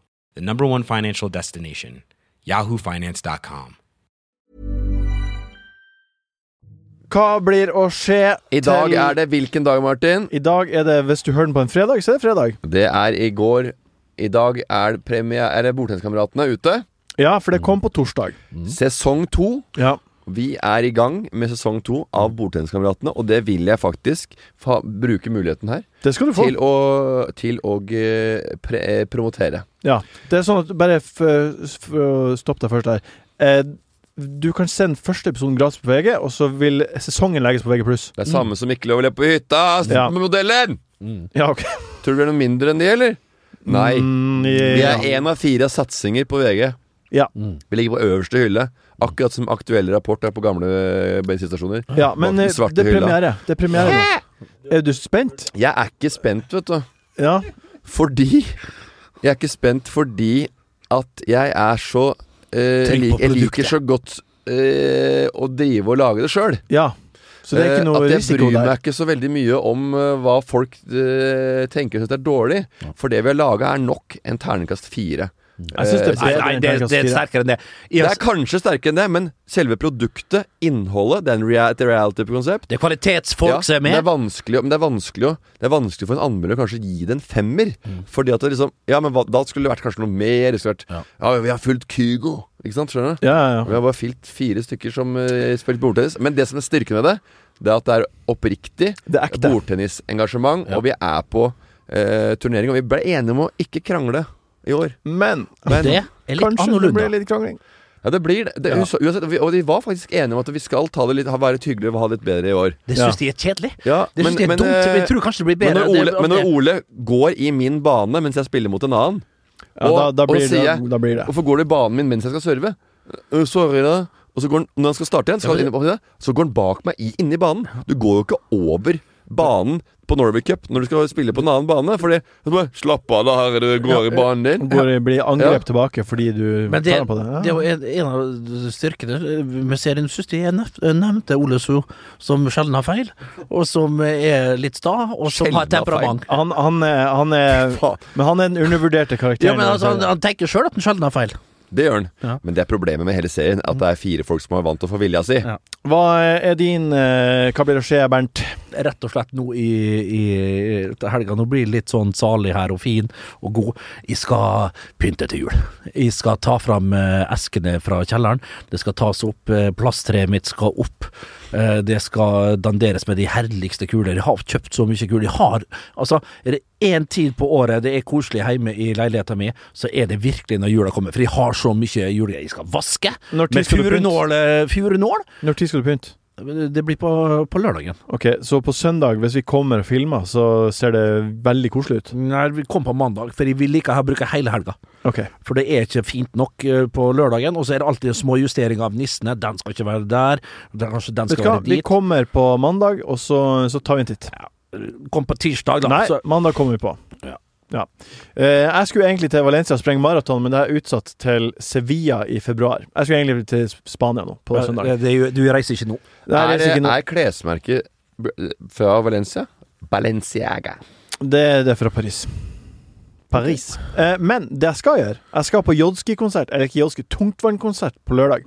[SPEAKER 8] the number one financial destination, yahoofinance.com.
[SPEAKER 2] Hva blir å skje
[SPEAKER 5] I dag er det hvilken dag, Martin?
[SPEAKER 2] I dag er det, hvis du hører den på en fredag, så er det fredag.
[SPEAKER 5] Det er i går. I dag er det premie... Er det Bordtenniskameratene ute?
[SPEAKER 2] Ja, for
[SPEAKER 5] Mm.
[SPEAKER 2] det kom på torsdag.
[SPEAKER 5] Sesong to.
[SPEAKER 2] Ja.
[SPEAKER 5] Vi er i gang med sesong to
[SPEAKER 2] Mm.
[SPEAKER 5] av Bordtenniskameratene, og det vil jeg faktisk fa bruke muligheten her
[SPEAKER 2] Det skal du få.
[SPEAKER 5] til å, til å eh, pre eh, promotere.
[SPEAKER 2] Ja. Det er sånn at Bare f f stopp deg først der. Eh, du kan sende første episoden gratis på VG, og så vil sesongen legges på VG+.
[SPEAKER 5] Det er samme som ikke lov å le på hytta s-
[SPEAKER 2] Mm. Ja.
[SPEAKER 5] med modellen!
[SPEAKER 2] Ja, ok.
[SPEAKER 5] Tror du det er noe mindre enn de, eller? Nei.
[SPEAKER 2] Mm,
[SPEAKER 5] Vi
[SPEAKER 2] ja.
[SPEAKER 5] er én av fire satsinger på VG.
[SPEAKER 2] Ja.
[SPEAKER 5] Vi ligger på øverste hylle. Akkurat som aktuell rapport er på gamle eh, bensinstasjoner.
[SPEAKER 2] ja, men
[SPEAKER 5] Bak
[SPEAKER 2] eh,
[SPEAKER 5] den svarte
[SPEAKER 2] det er
[SPEAKER 5] hylla.
[SPEAKER 2] premiere. Det er premiere nå. Er du spent?
[SPEAKER 5] Jeg er ikke spent, vet du.
[SPEAKER 2] Ja.
[SPEAKER 5] Fordi Jeg er ikke spent fordi at jeg er så eh,
[SPEAKER 4] Tenk
[SPEAKER 5] lik,
[SPEAKER 4] på
[SPEAKER 5] Jeg liker
[SPEAKER 4] produktet.
[SPEAKER 5] så godt eh, å drive og lage det sjøl.
[SPEAKER 2] ja. Så det er ikke noe
[SPEAKER 5] Eh, at jeg
[SPEAKER 2] risiko
[SPEAKER 5] bryr
[SPEAKER 2] der.
[SPEAKER 5] meg ikke så veldig mye om eh, hva folk eh, tenker og syns er dårlig. For det vi har laga, er nok en terningkast fire.
[SPEAKER 2] Mm.
[SPEAKER 5] Eh,
[SPEAKER 2] Jeg synes det er
[SPEAKER 4] Nei,
[SPEAKER 2] bedre
[SPEAKER 4] nei
[SPEAKER 2] enn
[SPEAKER 4] det,
[SPEAKER 2] terningkast
[SPEAKER 4] det er
[SPEAKER 2] fire.
[SPEAKER 4] sterkere enn det.
[SPEAKER 5] Det
[SPEAKER 4] Jeg,
[SPEAKER 5] er kanskje sterkere enn det, men selve produktet, innholdet, det er en rea- et reality-konsept.
[SPEAKER 4] det er kvalitetsfolk som er
[SPEAKER 5] men det er
[SPEAKER 4] med.
[SPEAKER 5] vanskelig, å- men det er vanskelig, å- det er vanskelig for en anmelder å kanskje gi det en femmer. Fordi at det liksom Ja, men hva, da skulle det vært kanskje noe mer. Det skulle vært Ja, vi har fulgt Kygo. Ikke sant? Skjønner du?
[SPEAKER 2] Ja, ja,
[SPEAKER 5] Vi har bare fylt fire stykker som uh, spilte bordtennis. Men det som er styrken med det, det er at det er oppriktig
[SPEAKER 2] ja. Det er ekte.
[SPEAKER 5] bordtennisengasjement, og vi er på eh, turnering. Og vi ble enige om å ikke krangle i år.
[SPEAKER 2] Men,
[SPEAKER 5] Men
[SPEAKER 4] Det er litt
[SPEAKER 2] kanskje det blir
[SPEAKER 4] annerledes.
[SPEAKER 2] litt krangling.
[SPEAKER 5] Ja, det blir det. det us- Uansett, vi, og de var faktisk enige om at vi skal ta det litt, ha, være litt hyggelige og ha det litt bedre i år.
[SPEAKER 4] Det
[SPEAKER 2] Ja.
[SPEAKER 4] syns de er kjedelig.
[SPEAKER 5] Ja,
[SPEAKER 4] Det synes de er dumt.
[SPEAKER 5] eh,
[SPEAKER 4] Jeg tror kanskje det blir
[SPEAKER 5] Men når,
[SPEAKER 4] bedre. av
[SPEAKER 5] Ole,
[SPEAKER 4] det- av
[SPEAKER 5] men når
[SPEAKER 4] det.
[SPEAKER 5] Ole går i min bane mens jeg spiller mot en annen
[SPEAKER 2] Ja,
[SPEAKER 5] og,
[SPEAKER 2] da, da,
[SPEAKER 5] og
[SPEAKER 2] blir
[SPEAKER 5] sier
[SPEAKER 2] det,
[SPEAKER 5] jeg,
[SPEAKER 2] da blir det.
[SPEAKER 5] Hvorfor går du i banen min mens jeg skal serve? «Øh, Sorry da Og så går han, når han skal starte igjen Så, skal han inn på det, så går han bak meg i, inni banen Du går jo ikke over banen på Norway Cup Når du skal spille på en annen bane Fordi så bare, Slapp av da herre, du går i banen din
[SPEAKER 2] Går, blir angrep
[SPEAKER 5] Ja.
[SPEAKER 2] tilbake fordi du
[SPEAKER 4] Men det,
[SPEAKER 2] tar på det? Ja.
[SPEAKER 4] det er jo en, en av styrkene eh, med serien, syns jeg jeg nev- nevnte Ole So, som sjelden har feil, og som eh, er litt sta, og som
[SPEAKER 5] Sjelden
[SPEAKER 4] har
[SPEAKER 5] har feil.
[SPEAKER 4] temperament.
[SPEAKER 2] Han, han er, han er
[SPEAKER 5] Faen.
[SPEAKER 2] Men han er den undervurderte
[SPEAKER 4] Ja,
[SPEAKER 2] karakteren.
[SPEAKER 4] men altså, han, han tenker sjøl at han sjelden har feil.
[SPEAKER 5] Det gjør han
[SPEAKER 4] Ja.
[SPEAKER 5] Men det er problemet med hele serien At det er fire folk som er vant til å få vilja si
[SPEAKER 4] Ja.
[SPEAKER 2] Hva er din eh, Hva blir det å skje, Bernt?
[SPEAKER 4] Rett og slett nå i, i til helga. Nå blir det litt sånn salig her og fin og god. Jeg skal pynte til jul. Jeg skal ta fram eh, eskene fra kjelleren. Det skal tas opp. eh, Plasttreet mitt skal opp. Eh, Det skal danderes med de herligste kuler. Jeg har kjøpt så mye kuler. Jeg har Altså, er det én tid på året det er koselig hjemme i leiligheta mi, så er det virkelig når jula kommer. For jeg har så mye julegreier jeg skal vaske.
[SPEAKER 2] Når tid
[SPEAKER 4] Med
[SPEAKER 2] skal du pynte?
[SPEAKER 4] furunål. eh, Furunål?
[SPEAKER 2] Når tid skal du pynte?
[SPEAKER 4] Det blir på, på lørdagen.
[SPEAKER 2] Ok, Så på søndag, hvis vi kommer og filmer, så ser det veldig koselig ut?
[SPEAKER 4] Nei, vi kom på mandag, for vi liker å bruke hele helga.
[SPEAKER 2] Ok.
[SPEAKER 4] For det er ikke fint nok eh, på lørdagen. Og så er det alltid små justeringer av nissene. Den skal ikke være der. Den, kanskje den
[SPEAKER 2] Vet
[SPEAKER 4] skal
[SPEAKER 2] du hva,
[SPEAKER 4] være
[SPEAKER 2] vi
[SPEAKER 4] dit. Kom,
[SPEAKER 2] kommer på mandag, og så, så tar vi en titt.
[SPEAKER 4] på tirsdag, da.
[SPEAKER 2] Nei,
[SPEAKER 4] Så,
[SPEAKER 2] mandag kommer vi på.
[SPEAKER 4] Ja.
[SPEAKER 2] Ja. Eh, jeg skulle egentlig til Valencia og sprenge maraton, men det er utsatt til Sevilla i februar. Jeg skulle egentlig til Spania nå, på søndag.
[SPEAKER 4] Eh, det er jo, du reiser ikke nå.
[SPEAKER 2] Det er,
[SPEAKER 5] Er,
[SPEAKER 2] sikkert noe-
[SPEAKER 5] er klesmerket b- fra Valencia? Balenciaga
[SPEAKER 2] Det er det er fra Paris. Paris. Eh, men det jeg skal gjøre Jeg skal på jodski-konsert, eller ikke jodski, tungtvannkonsert på lørdag.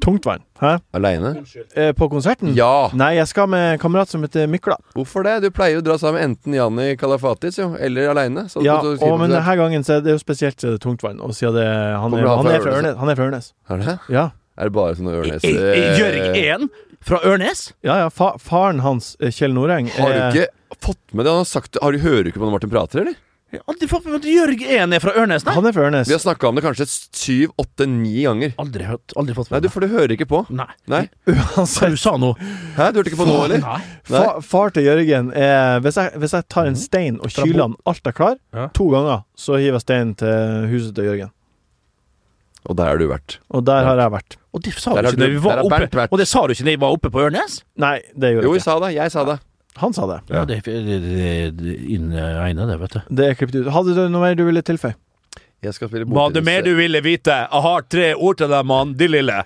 [SPEAKER 2] Tungtvann. Hæ?
[SPEAKER 5] Aleine?
[SPEAKER 2] Eh, På konserten?
[SPEAKER 5] Ja!
[SPEAKER 2] Nei, jeg skal med en kamerat som heter Mykla.
[SPEAKER 5] Hvorfor det? Du pleier jo å dra sammen enten Janni Kalafatis jo, eller aleine.
[SPEAKER 2] Ja, og, men denne gangen så er det jo spesielt så er det tungtvann. Og siden det, han, er,
[SPEAKER 5] Kommer han
[SPEAKER 2] han,
[SPEAKER 5] fra
[SPEAKER 2] er fra
[SPEAKER 5] Ørnes?
[SPEAKER 2] Ørnes, han er fra Ørnes.
[SPEAKER 5] Er det
[SPEAKER 2] Ja,
[SPEAKER 5] Er det bare sånn sånne Ørnes
[SPEAKER 4] I- I- Jørg
[SPEAKER 5] eh,
[SPEAKER 4] 1 fra Ørnes?
[SPEAKER 2] ja, ja fa, faren hans, eh, Kjell Noreng
[SPEAKER 5] Har du
[SPEAKER 2] er-
[SPEAKER 5] ikke fått med det? Han har sagt det. Har du, hører du ikke på når Martin prater, eller?
[SPEAKER 4] Jeg har Aldri fått med meg at Jørg 1 er fra Ørnes, nei.
[SPEAKER 2] Han er fra Ørnes.
[SPEAKER 5] Vi har snakka om det kanskje syv, åtte, ni ganger.
[SPEAKER 4] Aldri hørt. Aldri fått
[SPEAKER 5] Nei,
[SPEAKER 4] med
[SPEAKER 5] du, for du hører ikke på.
[SPEAKER 4] meg. Nei.
[SPEAKER 5] Nei?
[SPEAKER 4] Hva du sa nå?
[SPEAKER 5] Hæ, du hørte ikke på nå, eller?
[SPEAKER 4] Nei.
[SPEAKER 5] Nei. Mhm.
[SPEAKER 2] Fa, far til Jørgen er hvis jeg, hvis jeg tar en stein og kyler den alt er klar,
[SPEAKER 4] Ja.
[SPEAKER 2] to ganger, så hiver jeg steinen til huset til Jørgen.
[SPEAKER 5] Og der har du vært.
[SPEAKER 2] Og der har jeg vært.
[SPEAKER 4] Og det sa
[SPEAKER 5] Der
[SPEAKER 4] du
[SPEAKER 5] har
[SPEAKER 4] ikke da vi
[SPEAKER 5] du- der
[SPEAKER 4] var
[SPEAKER 5] har Bernt
[SPEAKER 4] oppe
[SPEAKER 5] vært.
[SPEAKER 4] Og det sa du ikke da vi var oppe på Ørnes?
[SPEAKER 2] Nei, det gjorde jeg
[SPEAKER 5] Jo, jeg
[SPEAKER 2] ikke.
[SPEAKER 5] sa det. Jeg sa det.
[SPEAKER 2] Han sa det.
[SPEAKER 5] Ja.
[SPEAKER 4] Ja, det det- det- det- innegnet, det, vet du.
[SPEAKER 2] Det er klippet ut. Hadde du noe mer du ville tilføye?
[SPEAKER 5] Jeg skal spille
[SPEAKER 4] Hva er det mer
[SPEAKER 5] bordtennis.
[SPEAKER 4] du ville vite? Jeg har tre ord til deg, mann. De lille.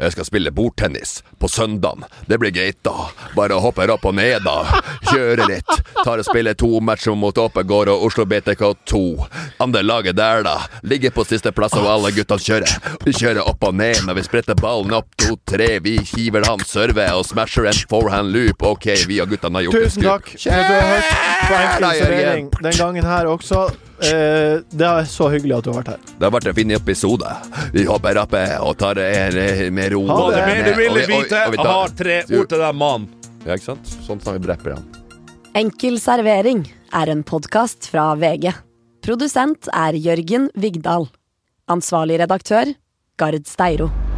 [SPEAKER 5] Jeg skal spille bordtennis på søndagen. Det blir greit, da. Bare hopper opp og ned, da. Kjører litt. Tar og spiller to matcher mot Oppegård og Oslo BTK2. Andre laget der, da. Ligger på sisteplass, og alle gutta kjører. Vi kjører opp og ned når vi spretter ballen opp to-tre. Vi hiver han serve og smasher en forehand loop. Ok, vi og guttene har gjort et
[SPEAKER 2] Tusen takk
[SPEAKER 5] skup.
[SPEAKER 2] for at du har hørt på Enkel
[SPEAKER 5] Kjære
[SPEAKER 2] servering
[SPEAKER 5] Jørgen.
[SPEAKER 2] den gangen her også. Eh, det er så hyggelig at du har vært her.
[SPEAKER 5] Det har vært en fin episode. Vi hopper opp eh, og tar det eh, med ro.
[SPEAKER 4] Hva
[SPEAKER 2] det
[SPEAKER 4] er det mer du ville
[SPEAKER 5] Og vi- og-
[SPEAKER 4] vite?
[SPEAKER 5] og vi
[SPEAKER 4] Jeg
[SPEAKER 5] tar-
[SPEAKER 4] har tre ord til deg, mann.
[SPEAKER 5] Ja, ikke sant? Sånn snakker rapper han.
[SPEAKER 1] Enkel servering er en podkast fra VG. Produsent er Jørgen Vigdal. Ansvarlig redaktør, Gard Steiro.